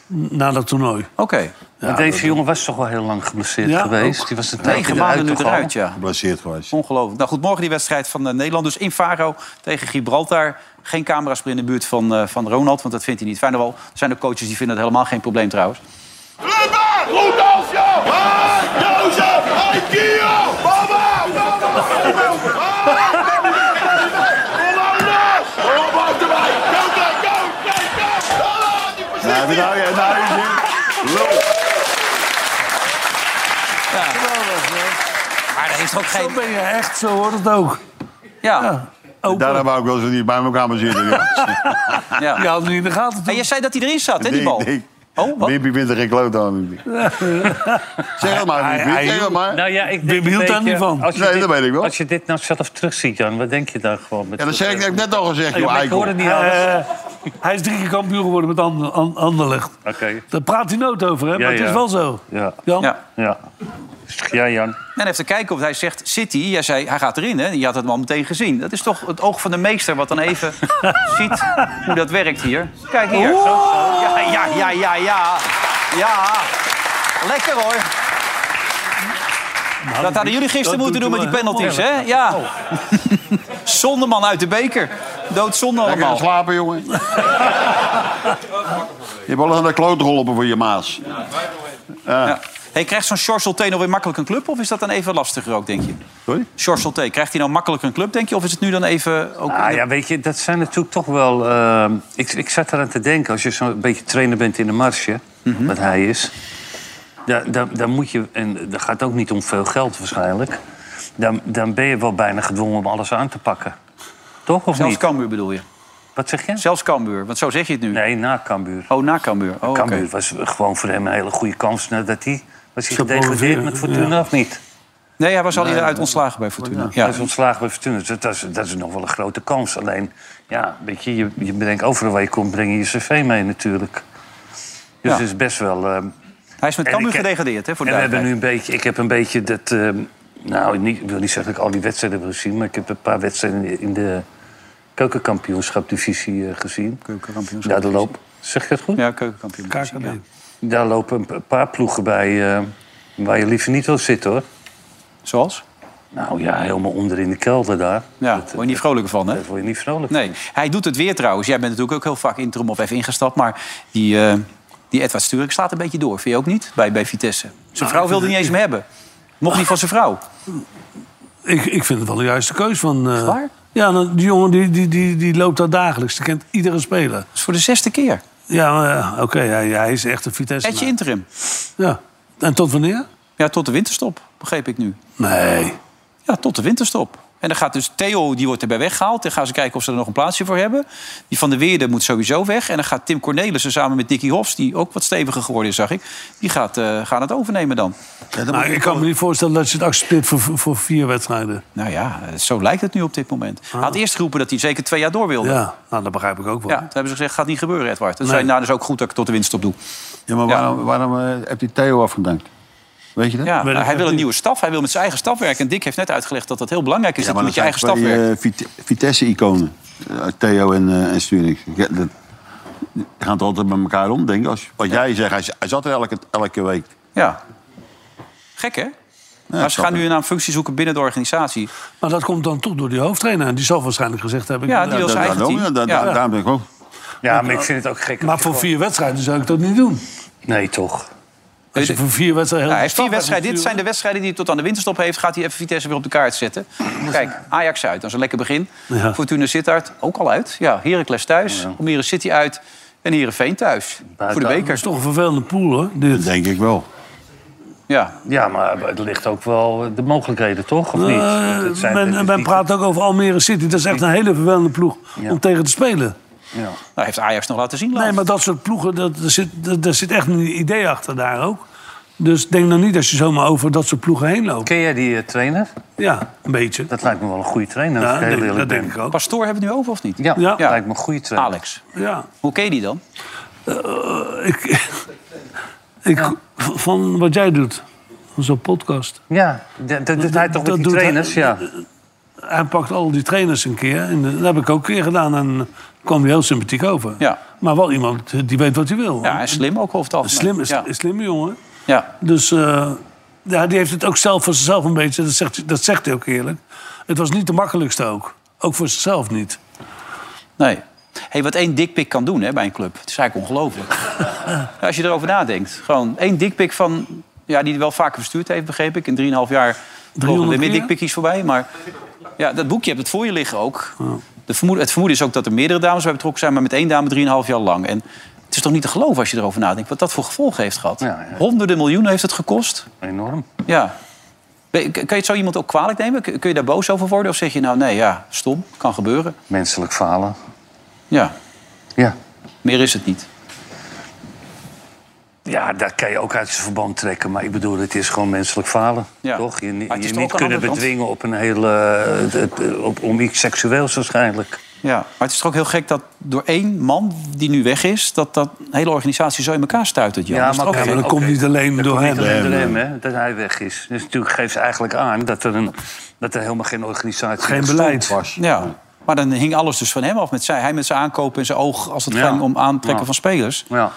Speaker 5: na dat toernooi.
Speaker 2: Oké.
Speaker 4: Maar deze jongen was toch wel heel lang geblesseerd
Speaker 5: Ja,
Speaker 4: geweest?
Speaker 5: ook.
Speaker 4: Die was een
Speaker 2: Negen
Speaker 4: tijdje
Speaker 2: maanden
Speaker 4: eruit
Speaker 2: nu
Speaker 4: toch al?
Speaker 2: eruit, ja.
Speaker 3: Geblesseerd geweest.
Speaker 2: Ongelooflijk. Nou goed, morgen die wedstrijd van eh, Nederland. Dus in Faro tegen Gibraltar. Geen camera's meer in de buurt van, eh, van Ronald, want dat vindt hij niet fijn. Wel, er zijn ook coaches die vinden dat helemaal geen probleem trouwens.
Speaker 17: Rudolfio! Hai, Jozef! Hai, Gio! Baba!
Speaker 3: Ja, nou, ja, nou,
Speaker 2: Maar er is ook geen...
Speaker 5: Zo ben je echt, zo wordt het ook.
Speaker 2: Ja.
Speaker 3: Daarom wou ik wel eens niet bij elkaar maar zitten. Ja.
Speaker 2: Ja.
Speaker 5: Je had hem niet in de gaten.
Speaker 2: En je zei dat hij erin zat, hè, die bal?
Speaker 3: Nee, nee.
Speaker 2: Oh,
Speaker 3: wat? Wimby wint er geen kloot aan. Zeg het maar, Wimby, zeg het maar.
Speaker 4: Nou ja, ik denk
Speaker 3: Wim
Speaker 4: een
Speaker 3: hield daar
Speaker 4: beetje-
Speaker 3: niet van.
Speaker 4: als je
Speaker 3: Nee,
Speaker 4: dit-
Speaker 3: dat weet ik wel.
Speaker 4: Als je dit nou zelf terugziet, Jan, wat denk je dan gewoon? Met
Speaker 3: Ja, dat zeg ik- dat heb ik net al gezegd, joh,
Speaker 4: Ja, maar ik
Speaker 3: eikel.
Speaker 4: hoor het niet
Speaker 5: Eh,
Speaker 4: anders.
Speaker 5: hij is drie keer kampioen geworden met Ander- An- Anderlecht.
Speaker 4: Oké.
Speaker 5: Daar praat hij nood over, hè? maar het is wel zo.
Speaker 4: Ja.
Speaker 5: Jan?
Speaker 2: Ja.
Speaker 4: ja. Ja, Jan.
Speaker 2: En even kijken of hij zegt City. Jij zei, hij gaat erin, hè? Je had het wel meteen gezien. Dat is toch het oog van de meester wat dan even ziet hoe dat werkt hier. Kijk hier. Zo, zo. Ja, ja, ja, ja, ja. Ja. Lekker hoor. dat hadden jullie
Speaker 5: dat
Speaker 2: gisteren moeten
Speaker 5: doet
Speaker 2: doen met die
Speaker 5: wel
Speaker 2: penalties,
Speaker 5: heel
Speaker 2: hè? Ja. Zonderman uit de beker. Doodzonde
Speaker 3: Lekker gaan
Speaker 2: allemaal.
Speaker 3: slapen, jongen. Je hebt alles aan de kloot rollen voor je maas.
Speaker 2: Ja. Hey, krijgt zo'n Sjors T nog weer makkelijk een club? Of is dat dan even lastiger ook, denk je?
Speaker 3: Sorry?
Speaker 2: Sjors T, krijgt hij nou makkelijk een club, denk je? Of is het nu dan even... Ook
Speaker 4: Ah, ja, weet je, dat zijn natuurlijk toch wel... ehm, ik, ik zat eraan te denken, als je zo'n beetje trainer bent in de marge...
Speaker 2: Mhm.
Speaker 4: wat hij is... Dan, dan, dan moet je... En dat gaat ook niet om veel geld waarschijnlijk... Dan, dan ben je wel bijna gedwongen om alles aan te pakken. Toch, of
Speaker 2: Zelfs
Speaker 4: niet?
Speaker 2: Cambuur bedoel je?
Speaker 4: Wat zeg je?
Speaker 2: Zelfs Cambuur, want zo zeg je het nu.
Speaker 4: Nee, na Cambuur.
Speaker 2: Oh, na Cambuur. Oh, oké.
Speaker 4: Cambuur was gewoon voor hem een hele goede kans... nadat hij... Was hij
Speaker 2: Zo
Speaker 4: gedegradeerd
Speaker 2: ongeveer,
Speaker 4: met Fortuna
Speaker 2: ja.
Speaker 4: of niet?
Speaker 2: Nee, hij was al
Speaker 4: Nee,
Speaker 2: eerder uit
Speaker 4: nee.
Speaker 2: ontslagen bij Fortuna.
Speaker 4: Ja.
Speaker 2: Ja.
Speaker 4: Hij is ontslagen bij Fortuna. Dus Dat, dat, is, dat is nog wel een grote kans. Alleen, ja, weet je, je, je bedenkt overal waar je komt, breng je je cv mee natuurlijk. Dus
Speaker 2: Ja.
Speaker 4: het is best wel... ehm,
Speaker 2: Hij is met
Speaker 4: en
Speaker 2: Cambuur
Speaker 4: ik heb-
Speaker 2: gedegradeerd, hè, voor de
Speaker 4: en we hebben nu
Speaker 2: duidelijkheid.
Speaker 4: een beetje, ik heb een beetje dat... ehm, nou, niet, ik wil niet zeggen dat ik al die wedstrijden heb gezien... maar ik heb een paar wedstrijden in de keukenkampioenschapdivisie eh, gezien. Daar de loop. Zeg ik dat goed?
Speaker 2: Ja, keukenkampioenschap. Ja.
Speaker 4: Daar lopen een paar ploegen bij eh, waar je liever niet wil zitten, hoor.
Speaker 2: Zoals?
Speaker 4: Nou ja, helemaal onder in de kelder daar.
Speaker 2: Ja, daar word je niet vrolijker van, hè? Daar
Speaker 4: word je niet vrolijk
Speaker 2: nee. Hij doet het weer trouwens. Jij bent natuurlijk ook heel vaak interim of even ingestapt. Maar die, eh, die Edward Sturik slaat een beetje door. Vind je ook niet? Bij, bij Vitesse.
Speaker 4: Nou,
Speaker 2: Zijn vrouw wilde niet eens meer hebben. Mocht niet van zijn vrouw.
Speaker 5: Ik, ik vind het wel de juiste keus van... eh, Ja, nou, die jongen die, die, die, die loopt daar dagelijks. Die kent iedere speler. Dat
Speaker 2: is voor de zesde keer.
Speaker 5: Ja, maar, ja, eh, oké. hij, hij is echt een Vitesse.
Speaker 2: Etje interim.
Speaker 5: Ja. En tot wanneer?
Speaker 2: Ja, tot de winterstop, begreep ik nu.
Speaker 5: Nee.
Speaker 2: Ja, tot de winterstop. En dan gaat dus Theo, die wordt erbij weggehaald. Dan gaan ze kijken of ze er nog een plaatsje voor hebben. Die van de Weerde moet sowieso weg. En dan gaat Tim Cornelissen samen met Dickie Hofs... die ook wat steviger geworden is, zag ik... die gaat, eh, gaan het overnemen dan.
Speaker 5: Maar Nou, ik kan me niet voorstellen dat je het accepteert voor, voor- voor vier wedstrijden.
Speaker 2: Nou ja, eh, zo lijkt het nu op dit moment. Hij had eerst geroepen dat hij zeker twee jaar door wilde.
Speaker 5: Ah. Ja, nou, dat begrijp ik ook wel.
Speaker 2: Ja, toen hebben ze gezegd, gaat niet gebeuren, Edward. Toen
Speaker 3: Nee.
Speaker 2: zei hij, nou, dat is ook goed dat ik tot de winterstop doe.
Speaker 3: Ja, maar waarom, waarom eh, heb die Theo afgedankt? Weet je dat?
Speaker 2: Ja, hij wil een nieuwe staf. Hij wil met zijn eigen staf werken. En Dick heeft net uitgelegd dat dat heel belangrijk is...
Speaker 3: Ja,
Speaker 2: dat
Speaker 3: maar
Speaker 2: je met je
Speaker 3: zijn
Speaker 2: eigen staf werkt.
Speaker 3: twee, eh, Vit- Vitesse-iconen. Eh, Theo en, eh en Sturing. Ja, dat, die gaan het altijd met elkaar omdenken. Als, wat jij zegt, hij, z- hij zat er elke, elke week.
Speaker 2: Ja. Gek, hè? maar ze
Speaker 3: eh, snap
Speaker 2: gaan nu naar een functie zoeken binnen de organisatie.
Speaker 5: Maar dat komt dan toch door die hoofdtrainer. En Die zal waarschijnlijk gezegd hebben... eh,
Speaker 2: Ja, die wil zijn eigen team. Ja.
Speaker 3: daarom denk ik ook.
Speaker 4: Ja, maar ik vind het ook gek.
Speaker 5: Maar voor vier wedstrijden zou ik dat niet doen.
Speaker 4: Nee, toch?
Speaker 5: Als je voor vier wedstrijden...
Speaker 2: Ja,
Speaker 5: heel
Speaker 2: Nou, hij heeft vier
Speaker 5: de stad
Speaker 2: wedstrijden. Dit
Speaker 5: wegstuurt.
Speaker 2: zijn de wedstrijden die hij tot aan de winterstop heeft. Gaat hij even Vitesse weer op de kaart zetten. Kijk, Ajax uit. Dat is een lekker begin.
Speaker 5: Ja.
Speaker 2: Fortuna Sittard ook al uit. Ja, Heracles thuis. Almere City uit. En Heerenveen thuis. voor de
Speaker 5: Dat
Speaker 2: beker.
Speaker 5: is toch een vervelende pool, hoor. Dit.
Speaker 3: Denk ik wel.
Speaker 2: Ja. Nou,
Speaker 4: ja, maar het ligt ook wel de mogelijkheden, toch? Of niet?
Speaker 5: Eh,
Speaker 4: Want het zijn-
Speaker 5: men,
Speaker 4: het is
Speaker 5: men
Speaker 4: niet-
Speaker 5: praat ook over Almere City. Dat is echt een hele vervelende ploeg
Speaker 4: Ja.
Speaker 5: om tegen te spelen.
Speaker 4: Ja.
Speaker 2: Nou, heeft Ajax nog laten zien.
Speaker 5: Nee, maar dat soort ploegen, dat, daar, zit, dat- daar zit echt een idee achter daar ook. Dus denk dan niet dat je zomaar over dat soort ploegen heen loopt.
Speaker 4: Ken jij die eh, trainer?
Speaker 5: Ja, een beetje.
Speaker 4: Dat lijkt me wel een goede trainer.
Speaker 5: Ja,
Speaker 4: als ik heel
Speaker 5: nee,
Speaker 4: eerlijk
Speaker 5: dat
Speaker 4: ben.
Speaker 5: denk ik ook.
Speaker 2: Pastoor hebben we nu over, of niet?
Speaker 4: Ja, lijkt me een goede trainer.
Speaker 2: Alex.
Speaker 5: Ja.
Speaker 2: Hoe ken je die dan?
Speaker 5: Eh, ik, ik, Van wat jij doet, van zo'n podcast.
Speaker 4: Ja, dat, dat doet hij toch
Speaker 5: Dat
Speaker 4: met die
Speaker 5: doet hij-
Speaker 4: trainers? ja.
Speaker 5: Hij pakt al die trainers een keer. En eh, dat heb ik ook een keer gedaan. En kwam hij heel sympathiek over.
Speaker 2: Ja.
Speaker 5: Maar wel iemand die weet wat hij wil.
Speaker 2: Ja, en slim ook over het
Speaker 5: Een
Speaker 2: algemeen.
Speaker 5: slimme,
Speaker 2: Ja.
Speaker 5: een slimme jongen.
Speaker 2: Ja.
Speaker 5: Dus eh, ja, die heeft het ook zelf voor zichzelf een beetje. Dat zegt, hij- dat zegt hij ook eerlijk. Het was niet de makkelijkste ook. Ook voor zichzelf niet.
Speaker 2: Nee. Hey, wat één dikpik kan doen hè, bij een club. Het is eigenlijk ongelooflijk. Ja, Als je erover nadenkt. Gewoon één dikpik van... Ja, die hij wel vaker verstuurd heeft, begreep ik. In 3,5 jaar vlogen er weer meer
Speaker 5: keer?
Speaker 2: dikpikjes voorbij. Maar ja, dat boekje hebt het voor je liggen ook. De vermoed, het vermoeden is ook dat er meerdere dames bij betrokken zijn... maar met één dame 3,5 jaar lang. En het is toch niet te geloven als je erover nadenkt... wat dat voor gevolgen heeft gehad. Honderden miljoenen heeft het gekost.
Speaker 4: Enorm.
Speaker 2: Ja. Ben- Kan je het zo iemand ook kwalijk nemen? Kun kun je daar boos over worden? Of zeg je nou, nee, ja, stom, kan gebeuren.
Speaker 4: Menselijk falen.
Speaker 2: Ja.
Speaker 4: Ja.
Speaker 2: Meer is het niet.
Speaker 4: Ja, dat kan je ook uit zijn verband trekken. Maar ik bedoel, het is gewoon menselijk falen. Toch? Je, je
Speaker 2: het is
Speaker 4: niet
Speaker 2: toch ook aan de
Speaker 4: kunnen
Speaker 2: andere kant?
Speaker 4: bedwingen op een hele... eh, het- eh, op, om iets seksueels waarschijnlijk.
Speaker 2: Ja, maar het is toch ook heel gek dat door één man die nu weg is... dat dat hele organisatie zo in elkaar stuitert, Jan. Dat is toch ook gek?
Speaker 4: dat
Speaker 5: door
Speaker 4: komt
Speaker 5: hem.
Speaker 4: Niet alleen door
Speaker 5: Nee,
Speaker 4: hem, hè, dat hij weg is. Dus natuurlijk geeft eigenlijk aan dat er, een, dat er helemaal geen organisatie
Speaker 5: Geen
Speaker 4: bestond
Speaker 5: beleid.
Speaker 4: was.
Speaker 2: Ja, maar dan hing alles dus van hem af. Met zij, hij met zijn aankopen en zijn oog als het
Speaker 4: Ja.
Speaker 2: ging om aantrekken
Speaker 4: Ja.
Speaker 2: van spelers.
Speaker 4: Ja.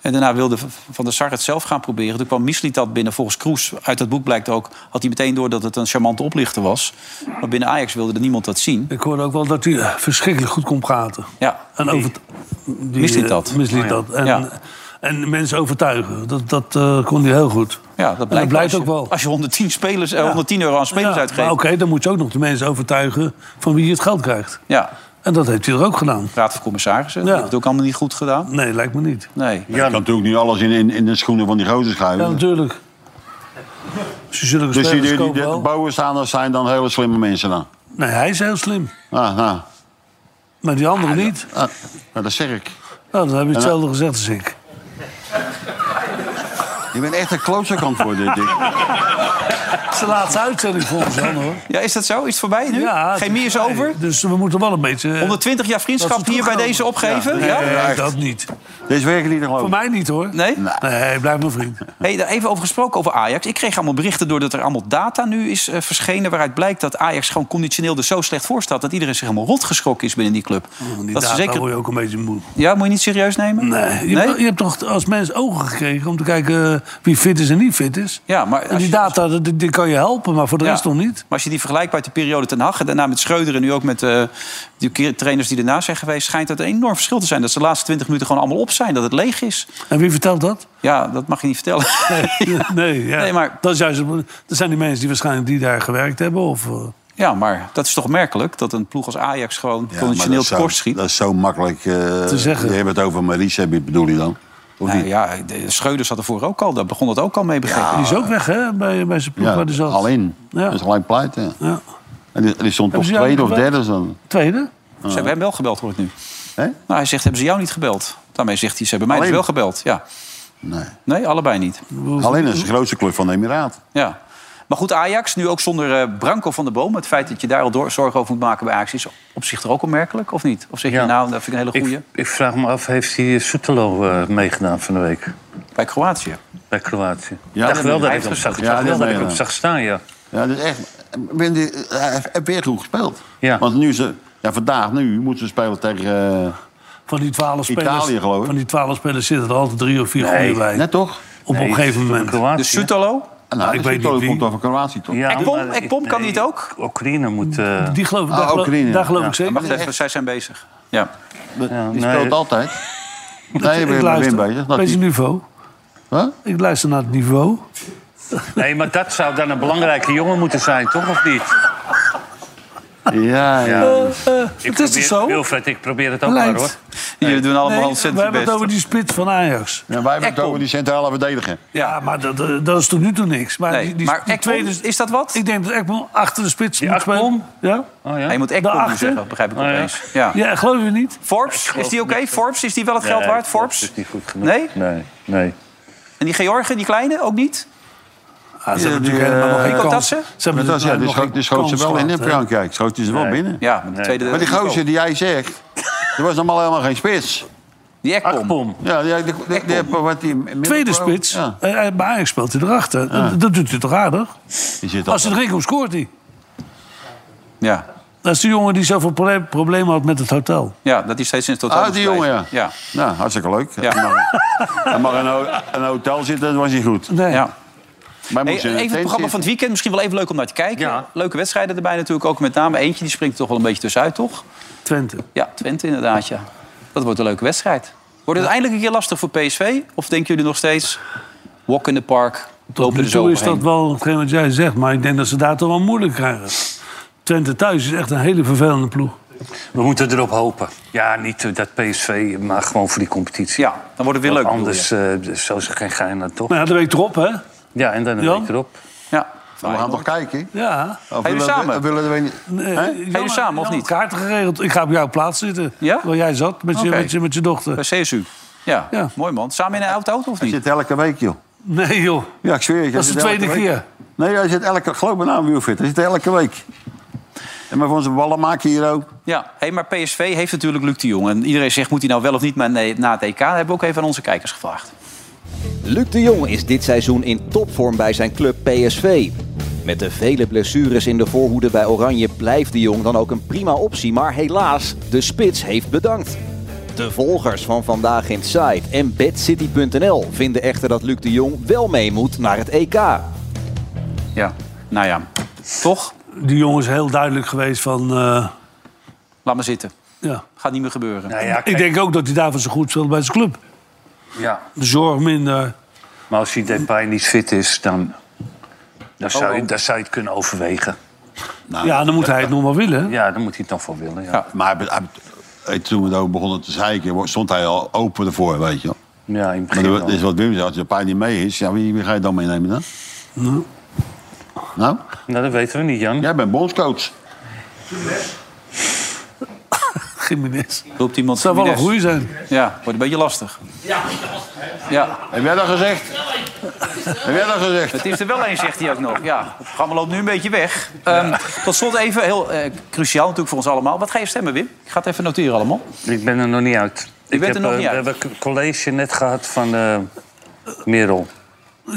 Speaker 2: En daarna wilde V- Van der Sar het zelf gaan proberen. Toen kwam Misliet dat binnen. Volgens Kroes, uit dat boek blijkt ook... had hij meteen door dat het een charmante oplichter was. Maar binnen Ajax wilde er niemand dat zien.
Speaker 5: Ik hoorde ook wel dat hij eh, verschrikkelijk goed kon praten.
Speaker 2: Ja.
Speaker 5: En over die,
Speaker 2: Misliet
Speaker 5: eh,
Speaker 2: dat.
Speaker 5: misliet
Speaker 2: Oh ja.
Speaker 5: dat. En,
Speaker 2: Ja.
Speaker 5: en mensen overtuigen. Dat, dat eh, kon hij heel goed.
Speaker 2: Ja, dat
Speaker 5: En
Speaker 2: blijkt,
Speaker 5: blijkt
Speaker 2: als je-
Speaker 5: ook wel.
Speaker 2: Als je 110, spelers, eh,
Speaker 5: Ja.
Speaker 2: 110 euro aan spelers
Speaker 5: Ja,
Speaker 2: uitgeeft...
Speaker 5: maar Oké, dan moet je ook nog de mensen overtuigen van wie je het geld krijgt.
Speaker 2: Ja.
Speaker 5: En dat heeft hij er ook gedaan.
Speaker 2: Raad van Commissarissen, dat heeft het ook allemaal niet goed gedaan.
Speaker 5: Nee, lijkt me niet.
Speaker 2: Nee.
Speaker 3: Je kan natuurlijk niet alles in, in, in de schoenen van die gozer schuiven.
Speaker 5: Ja, natuurlijk. Ze zullen
Speaker 3: dus die,
Speaker 5: spelers
Speaker 3: die, die,
Speaker 5: kopen wel.
Speaker 3: bouwenstaanders zijn dan hele slimme mensen dan?
Speaker 5: Nee, hij is heel slim.
Speaker 3: Ah, nou,
Speaker 5: Maar die anderen niet.
Speaker 3: ah, nou, dat zeg ik.
Speaker 5: Nou, dan heb je
Speaker 3: En-
Speaker 5: hetzelfde gezegd als ik.
Speaker 3: Je bent echt een klootzak aan het worden, Dick.
Speaker 5: Het is de laatste uitzending volgens mij hoor.
Speaker 2: Ja, is dat zo? Is het voorbij nu?
Speaker 5: Ja,
Speaker 2: Geen meer is
Speaker 5: nee,
Speaker 2: over?
Speaker 5: Dus we moeten wel een beetje... eh,
Speaker 2: 120 jaar vriendschap
Speaker 5: dat ze
Speaker 2: hier bij
Speaker 5: terugkomen.
Speaker 2: deze opgeven?
Speaker 5: Ja,
Speaker 2: Ja?
Speaker 5: nee,
Speaker 2: Ja, echt.
Speaker 5: dat niet.
Speaker 3: Deze werken niet, geloof
Speaker 5: Voor mij niet hoor.
Speaker 2: Nee?
Speaker 5: Nee, blijf mijn vriend.
Speaker 2: Hey, daar even over gesproken over Ajax. Ik kreeg allemaal berichten doordat er allemaal data nu is eh, verschenen... waaruit blijkt dat Ajax gewoon conditioneel er zo slecht voor staat... dat iedereen zich helemaal rotgeschrokken is binnen die club.
Speaker 5: Want Oh, die
Speaker 2: dat ze
Speaker 5: data
Speaker 2: zeker...
Speaker 5: word je ook een beetje moe.
Speaker 2: Ja, moet je niet serieus nemen?
Speaker 5: Nee, je, Hebt, je hebt toch als mens ogen gekregen om te kijken eh, wie fit is en niet fit is?
Speaker 2: Ja, maar
Speaker 5: En
Speaker 2: als
Speaker 5: die
Speaker 2: je-
Speaker 5: data, die, die kan je helpen, maar voor de
Speaker 2: Ja.
Speaker 5: rest nog niet.
Speaker 2: Maar als je die vergelijkt met de periode ten Hag... en daarna met Schreuder en nu ook met eh, die keer- trainers die erna zijn geweest... schijnt dat een enorm verschil te zijn. Dat ze de laatste 20 minuten gewoon allemaal op zijn. Dat het leeg is.
Speaker 5: En wie vertelt dat?
Speaker 2: Ja, dat mag je niet vertellen.
Speaker 5: Nee, nee, ja.
Speaker 2: Nee, maar-
Speaker 5: dat, is juist, het- dat zijn die mensen die waarschijnlijk die daar gewerkt hebben. Of, eh,
Speaker 2: Ja, maar dat is toch merkelijk dat een ploeg als Ajax gewoon
Speaker 3: Ja, maar
Speaker 2: conditioneel
Speaker 3: dat is zo-
Speaker 2: tekort schiet.
Speaker 3: Dat is zo makkelijk. eh te
Speaker 5: zeggen.
Speaker 3: Je hebt het over Maries, heb je- bedoel je dan? Of
Speaker 2: Nou
Speaker 3: niet?
Speaker 2: ja, de Schreuder zat ervoor ook al. Daar begon het ook al mee begrepen.
Speaker 5: Die is ook weg hè, bij, bij zijn ploeg
Speaker 3: Ja,
Speaker 5: waar die zat.
Speaker 3: alleen.
Speaker 5: Ja.
Speaker 3: Dat is alleen pleit, ja.
Speaker 5: Ja.
Speaker 3: En die, die stond toch
Speaker 5: Hebben ze jou
Speaker 3: tweede of
Speaker 5: niet gebeld?
Speaker 3: derde dan?
Speaker 5: Tweede?
Speaker 2: Ze hebben hem wel gebeld, hoor ik nu.
Speaker 3: Hè?
Speaker 2: Nou, hij zegt, hebben ze jou niet gebeld? Daarmee zegt hij, ze hebben mij dus
Speaker 3: Alleen?
Speaker 2: wel gebeld. Ja.
Speaker 3: Nee.
Speaker 2: Nee, allebei niet.
Speaker 3: Alleen dat is de grootste club van de Emiraat.
Speaker 2: Ja. Maar goed, Ajax, nu ook zonder eh, Branco van der Boom... het feit dat je daar al door, zorgen over moet maken bij Ajax... is op zich toch ook opmerkelijk, of niet? Of zeg je, nou, dat vind ik een hele goeie.
Speaker 4: Ik, ik vraag me af, heeft hij Soetelo eh, meegedaan van de week?
Speaker 2: Bij Kroatië.
Speaker 4: Bij Kroatië.
Speaker 3: Ja,
Speaker 4: Ja, dacht
Speaker 3: dat
Speaker 4: wel dat
Speaker 3: hij
Speaker 4: ik hem
Speaker 3: heeft
Speaker 4: zag.
Speaker 3: gezegd.
Speaker 4: Ik dacht
Speaker 3: Ja,
Speaker 4: wel
Speaker 3: dat
Speaker 4: dat ik
Speaker 3: meen
Speaker 4: hem
Speaker 3: je.
Speaker 4: zag staan, ja.
Speaker 3: Ja, dat is echt. ik Ben die, hij heeft- heeft weer goed gespeeld.
Speaker 4: Ja.
Speaker 3: Want nu ze, ja, vandaag, nu moeten ze spelen tegen. eh,
Speaker 5: Van die twaalf spelers,
Speaker 3: Italië, geloof ik.
Speaker 5: Van die twaalf spelers zitten er altijd drie of vier goede bij.
Speaker 3: net toch?
Speaker 5: Op een gegeven moment.
Speaker 2: Dus Sutalo?
Speaker 3: Nou,
Speaker 5: ik
Speaker 3: ik
Speaker 5: weet
Speaker 3: weet
Speaker 5: niet wie.
Speaker 3: komt over Kroatië toch?
Speaker 4: Ja,
Speaker 2: Ekpom,
Speaker 4: maar-
Speaker 2: Ekpom kan
Speaker 4: nee,
Speaker 2: niet ook?
Speaker 4: Oekraïne moet... eh,
Speaker 5: Die geloof,
Speaker 3: Ah,
Speaker 5: daar, geloof,
Speaker 3: Oekraïne.
Speaker 5: daar geloof
Speaker 3: Ja.
Speaker 5: ik zeker.
Speaker 2: Wacht even, zij zijn bezig. Ja.
Speaker 3: Die
Speaker 4: nee,
Speaker 3: speelt
Speaker 4: het-
Speaker 3: altijd. Nee,
Speaker 5: ik
Speaker 3: we hebben Wim
Speaker 5: luister.
Speaker 3: bezig. Dat
Speaker 5: Met
Speaker 3: die-
Speaker 5: zijn niveau.
Speaker 3: Huh?
Speaker 5: Ik luister naar het niveau.
Speaker 4: Nee, maar dat zou dan een belangrijke jongen moeten zijn, toch? Of niet?
Speaker 3: Ja, ja.
Speaker 4: Ja.
Speaker 5: het is toch zo?
Speaker 4: Wilfred, ik probeer het ook maar,
Speaker 5: Lijkt.
Speaker 4: hoor.
Speaker 2: Jullie doen allemaal
Speaker 5: Nee, we
Speaker 2: ontzettend
Speaker 5: hebben
Speaker 2: je
Speaker 5: het over
Speaker 2: best.
Speaker 5: die spits van Ajax.
Speaker 3: En Nou, wij hebben het over die centrale verdediger.
Speaker 5: Ja, maar dat, eh, dat is tot nu toe niks. Maar
Speaker 2: Nee,
Speaker 5: Ah, die, die,
Speaker 2: maar
Speaker 5: die
Speaker 2: Ekpom,
Speaker 5: tweede,
Speaker 2: is dat wat?
Speaker 5: ik denk dat Ekpom achter de spits
Speaker 4: Die
Speaker 5: moet spelen.
Speaker 4: Ekpom?
Speaker 5: Ja?
Speaker 4: Oh, ja?
Speaker 2: Hij moet Ekpom nu
Speaker 5: Daarachter?
Speaker 2: zeggen, begrijp ik
Speaker 4: Oh, ja.
Speaker 2: opeens. Ja.
Speaker 5: ja, geloof je niet?
Speaker 2: Forbes, is die oké? Forbes, is die wel het geld
Speaker 4: Nee,
Speaker 2: waard?
Speaker 4: Forbes
Speaker 2: Forbes?
Speaker 4: is niet goed genoeg.
Speaker 2: Nee?
Speaker 4: Nee, nee.
Speaker 2: En die Georgen, die kleine, ook niet?
Speaker 5: Ah, ze hebben
Speaker 3: die,
Speaker 5: natuurlijk helemaal
Speaker 3: eh,
Speaker 5: geen
Speaker 2: Kotatse?
Speaker 5: kans. Ze hebben
Speaker 3: Maar dat,
Speaker 5: natuurlijk
Speaker 3: ja, die
Speaker 5: helemaal
Speaker 3: schoot, die
Speaker 5: geen
Speaker 3: schoot ze
Speaker 5: kans
Speaker 3: wel in, hè,
Speaker 5: gehad, hè.
Speaker 3: Frankrijk. Schoot ze wel binnen.
Speaker 2: Ja, maar de tweede...
Speaker 3: Maar die gozer die jij zegt, die was allemaal helemaal geen spits.
Speaker 2: Die Ekpom.
Speaker 4: Akpom.
Speaker 3: Ja, die, die, die, die, die- wat die
Speaker 5: Tweede spits.
Speaker 3: Ja,
Speaker 5: Eh, eh, Bij Ajax speelt hij erachter. Dat, dat doet hij toch aardig?
Speaker 3: die zit
Speaker 5: Als hij
Speaker 3: altijd-
Speaker 5: erin komt, scoort hij.
Speaker 2: Ja.
Speaker 5: Dat is die jongen die zoveel proble- problemen had met het hotel.
Speaker 2: ja, dat is steeds in het totaal.
Speaker 3: Ah, die jongen, ja.
Speaker 2: Ja.
Speaker 3: Nou, hartstikke leuk.
Speaker 2: Ja.
Speaker 3: Hij mag, hij mag in een, ho- een hotel zitten, dat was niet goed.
Speaker 5: Nee.
Speaker 2: ja.
Speaker 3: Maar hij
Speaker 2: Hey,
Speaker 3: moest in een
Speaker 2: even het
Speaker 3: tent
Speaker 2: programma van
Speaker 3: zitten.
Speaker 2: het weekend. Misschien wel even leuk om naar te kijken.
Speaker 4: Ja.
Speaker 2: Leuke wedstrijden erbij natuurlijk ook. Met name eentje, die springt er toch wel een beetje tussenuit, toch?
Speaker 5: Twente.
Speaker 2: Ja, Twente inderdaad, ja. Dat wordt een leuke wedstrijd. Wordt het eindelijk een keer lastig voor PSV? Of denken jullie nog steeds... Walk in the park,
Speaker 5: Tot
Speaker 2: lopen
Speaker 5: nu
Speaker 2: er zo
Speaker 5: toe is dat
Speaker 2: overheen.
Speaker 5: wel hetgeen wat jij zegt. Maar ik denk dat ze daar toch wel moeilijk krijgen. Twente thuis is echt een hele vervelende ploeg.
Speaker 4: We moeten erop hopen. Ja, niet eh, dat PSV, maar gewoon voor die competitie.
Speaker 2: Ja, dan wordt het weer
Speaker 4: Want
Speaker 2: leuk. bedoel je.
Speaker 4: Anders eh, zou ze geen gein aan, toch?
Speaker 5: Maar ja, de week erop, hè?
Speaker 4: Ja, en dan een
Speaker 5: Jan?
Speaker 4: week erop.
Speaker 2: Ja.
Speaker 3: Nou, we gaan toch kijken?
Speaker 5: Ja.
Speaker 3: Of willen
Speaker 2: jullie
Speaker 3: we-
Speaker 2: samen?
Speaker 3: willen we niet?
Speaker 5: Nee,
Speaker 3: Hè?
Speaker 5: Jan-
Speaker 2: jullie samen, of
Speaker 5: Jan
Speaker 2: niet?
Speaker 5: Kaarten geregeld. Ik ga op jouw plaats zitten.
Speaker 2: Ja?
Speaker 5: Waar jij zat, met je,
Speaker 2: Oké. eh,
Speaker 5: met je, met je dochter.
Speaker 2: Bij CSU. Ja, mooi man. Samen in een oud auto of niet?
Speaker 3: zit elke week, joh.
Speaker 5: Nee, joh.
Speaker 3: Ja, ik zweer je. hij
Speaker 5: Dat is de
Speaker 3: zit elke
Speaker 5: tweede
Speaker 3: week.
Speaker 5: keer.
Speaker 3: Nee, hij zit elke... Geloof me nou, Wilfried. Hij zit elke week. En maar van zijn ballen maken hier ook.
Speaker 2: Ja, hey, maar PSV heeft natuurlijk Luc de Jong. En iedereen zegt, moet hij nou wel of niet maar nee, na het EK? Dat hebben we ook even aan onze kijkers gevraagd.
Speaker 18: Luc de Jong is dit seizoen in topvorm bij zijn club PSV. Met de vele blessures in de voorhoede bij Oranje blijft de Jong dan ook een prima optie, maar helaas, de spits heeft bedankt. De volgers van Vandaag in Site en BadCity.nl vinden echter dat Luc de Jong wel mee moet naar het EK.
Speaker 2: Ja, nou ja, toch?
Speaker 5: Die jongen is heel duidelijk geweest van... eh,
Speaker 2: Laat maar zitten.
Speaker 5: ja.
Speaker 2: Gaat niet meer gebeuren.
Speaker 4: Nou
Speaker 5: ik denk ook dat hij daarvoor zo goed speelt bij zijn club.
Speaker 4: Ja.
Speaker 5: De zorg minder.
Speaker 4: Maar als die Depay niet fit is, dan, dan, zou,
Speaker 5: Oh,
Speaker 4: Je, dan zou je het kunnen overwegen.
Speaker 5: ja, dan moet hij het nog wel willen.
Speaker 4: Ja, dan moet hij het nog wel willen. Ja.
Speaker 3: Maar hij- hij- hij- toen we daarover begonnen te zeiken, stond hij al open ervoor, weet je wel.
Speaker 4: Ja, in
Speaker 3: Maar dat is wat Wim zei, als je paar niet mee is, ja, wie, wie ga je dan meenemen dan?
Speaker 5: Nou.
Speaker 3: Nou?
Speaker 4: dat weten we niet, Jan.
Speaker 3: Jij bent bondscoach.
Speaker 5: Gimenez.
Speaker 2: Roept iemand
Speaker 5: Zou wel een
Speaker 2: Gimenez.
Speaker 5: goeie zijn.
Speaker 2: Ja, wordt een beetje lastig. Ja.
Speaker 3: Heb jij dat gezegd? Heb jij dat gezegd?
Speaker 2: Het is er wel een, zegt hij ook nog. Ja, het programma loopt nu een beetje weg. Ehm, Tot slot even, heel eh, cruciaal natuurlijk voor ons allemaal. Wat ga je stemmen, Wim? Ik ga het even noteren allemaal.
Speaker 4: Ik ben er nog niet uit.
Speaker 2: Je bent er nog
Speaker 4: eh,
Speaker 2: niet uit?
Speaker 4: We hebben een college net gehad van eh Merel.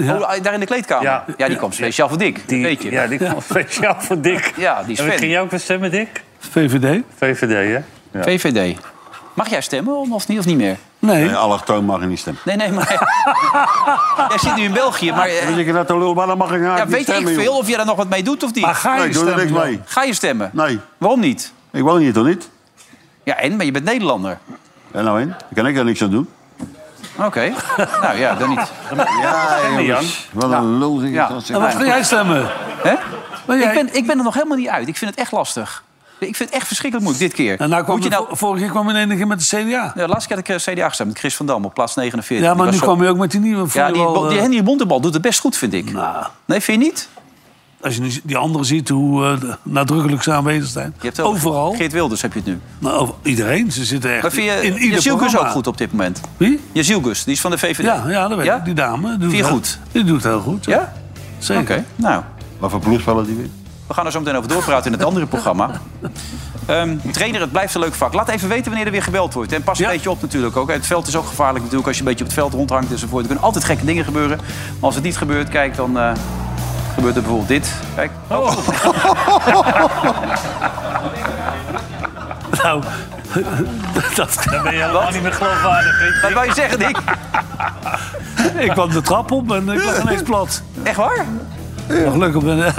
Speaker 2: Oh, daar in de kleedkamer? Ja, die kwam speciaal voor Dick, dat weet je.
Speaker 4: Ja, die kwam speciaal voor Dick.
Speaker 2: Ja, die is
Speaker 4: En wat
Speaker 2: fan.
Speaker 4: ging jij ook weer stemmen, Dick?
Speaker 5: VVD?
Speaker 4: VVD, hè? Ja.
Speaker 2: VVD. Mag jij stemmen of niet, of niet meer?
Speaker 5: Nee.
Speaker 3: nee allochtoon mag je niet stemmen.
Speaker 2: Nee, nee, maar... jij zit nu in België, maar... eh,
Speaker 3: Als ik dat te lul, maar dan mag ik
Speaker 2: ja,
Speaker 3: eigenlijk
Speaker 2: weet
Speaker 3: niet stemmen,
Speaker 2: ik veel
Speaker 3: joh.
Speaker 2: of jij daar nog wat mee doet of niet?
Speaker 3: Maar ga je Nee, ik doe er stemmen niks dan? mee.
Speaker 2: Ga je stemmen?
Speaker 3: Nee.
Speaker 2: Waarom niet?
Speaker 3: Ik woon hier toch niet?
Speaker 2: Ja, en? Maar je bent Nederlander.
Speaker 3: En nou in? Daar kan ik daar niks aan doen.
Speaker 2: Oké. nou ja, dan niet.
Speaker 3: Ja,
Speaker 2: Jan.
Speaker 3: jongens. Wat een lul. zeg ik
Speaker 2: Ja.
Speaker 3: dat, zeg.
Speaker 5: En wat ga jij stemmen?
Speaker 2: Hè? Ik, ben, ik ben er nog helemaal niet uit. Ik vind het echt lastig. Ik vind het echt verschrikkelijk moeilijk dit keer.
Speaker 5: En nou kwam
Speaker 2: Moet je
Speaker 5: hij
Speaker 2: nou...
Speaker 5: vo- vorige keer kwam hij in één keer met de CDA.
Speaker 2: Ja, laatst keer had ik eh, CDA gestemd met Chris van Dam op plaats 49.
Speaker 5: Ja,
Speaker 2: Die
Speaker 5: maar
Speaker 2: was
Speaker 5: nu
Speaker 2: zo-
Speaker 5: kwam hij ook met die nieuwe.
Speaker 2: Ja, die, bo-
Speaker 5: vooral,
Speaker 2: die
Speaker 5: eh, Nou.
Speaker 2: Henry Bontebal doet het best goed, vind ik. Nee, vind je niet?
Speaker 5: Als je nu die anderen ziet, hoe eh, de- nadrukkelijk ze aanwezig zijn.
Speaker 2: Je hebt ook-
Speaker 5: Overal.
Speaker 2: Geert Wilders heb je het nu.
Speaker 5: Nou, over- iedereen. Ze zitten echt
Speaker 2: Maar vind je,
Speaker 5: in ieder
Speaker 2: Jezielgus
Speaker 5: programma.
Speaker 2: ook goed op dit moment?
Speaker 5: Wie?
Speaker 2: Jezielgus, die is van de VVD.
Speaker 5: Ja, ja, dat weet
Speaker 2: Ja?
Speaker 5: ik. Die dame. Doet
Speaker 2: Vind je
Speaker 5: het-
Speaker 2: goed?
Speaker 5: Die doet het heel goed. Ja? Zeker.
Speaker 2: Oké, nou.
Speaker 3: Wat voor ploeg vallen die weer?
Speaker 2: We gaan er zo meteen over doorpraten in het andere programma. Ehm, trainer, het blijft een leuk vak. Laat even weten wanneer er weer geweld wordt. En pas een beetje op natuurlijk ook. Het veld is ook gevaarlijk natuurlijk als je een beetje op het veld rondhangt enzovoort. Er kunnen altijd gekke dingen gebeuren. Maar als het niet gebeurt, kijk, dan eh, gebeurt er bijvoorbeeld dit. Kijk.
Speaker 5: Nou, dat
Speaker 4: Dan ben je helemaal niet meer geloofwaardig. weet je.
Speaker 2: Wat wou je zeggen, Dick?
Speaker 5: ik kwam de trap op en ik lag ineens plat.
Speaker 2: Echt waar?
Speaker 5: Maar gelukkig ben,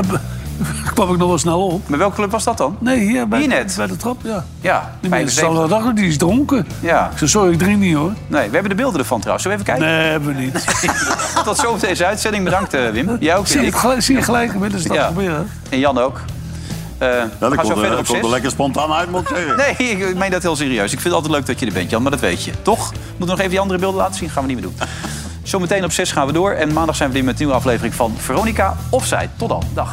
Speaker 5: kwam ik nog wel snel op.
Speaker 2: Maar welke club was dat dan?
Speaker 5: Nee, hier bij,
Speaker 2: Hier net?
Speaker 5: bij de trap, ja.
Speaker 2: Ja,
Speaker 5: Die mensen
Speaker 2: 75.
Speaker 5: zouden dachten, die is dronken.
Speaker 2: Ja.
Speaker 5: Ik zei, sorry, ik drink niet hoor.
Speaker 2: Nee, we hebben de beelden ervan trouwens. Zullen we even kijken?
Speaker 5: Nee, hebben we niet.
Speaker 2: Tot zo deze uitzending. Bedankt, eh, Wim. Jij ook,
Speaker 5: Zie je,
Speaker 2: Dick.
Speaker 5: het gelijk, zie je gelijk willen ze dat
Speaker 2: Ja.
Speaker 5: proberen?
Speaker 2: En Jan ook. Eh,
Speaker 3: Ja, dat
Speaker 2: ga zo
Speaker 3: komt, er,
Speaker 2: verder op
Speaker 3: dat komt er
Speaker 2: zes.
Speaker 3: lekker spontaan uit, moet ik zeggen.
Speaker 2: Nee, ik ik meen dat heel serieus. Ik vind het altijd leuk dat je er bent, Jan, maar dat weet je. Toch? Moeten we nog even die andere beelden laten zien? Gaan we niet meer doen. Zometeen op 6 gaan we door. En maandag zijn we weer met een nieuwe aflevering van Veronica Offside. Tot dan. Dag.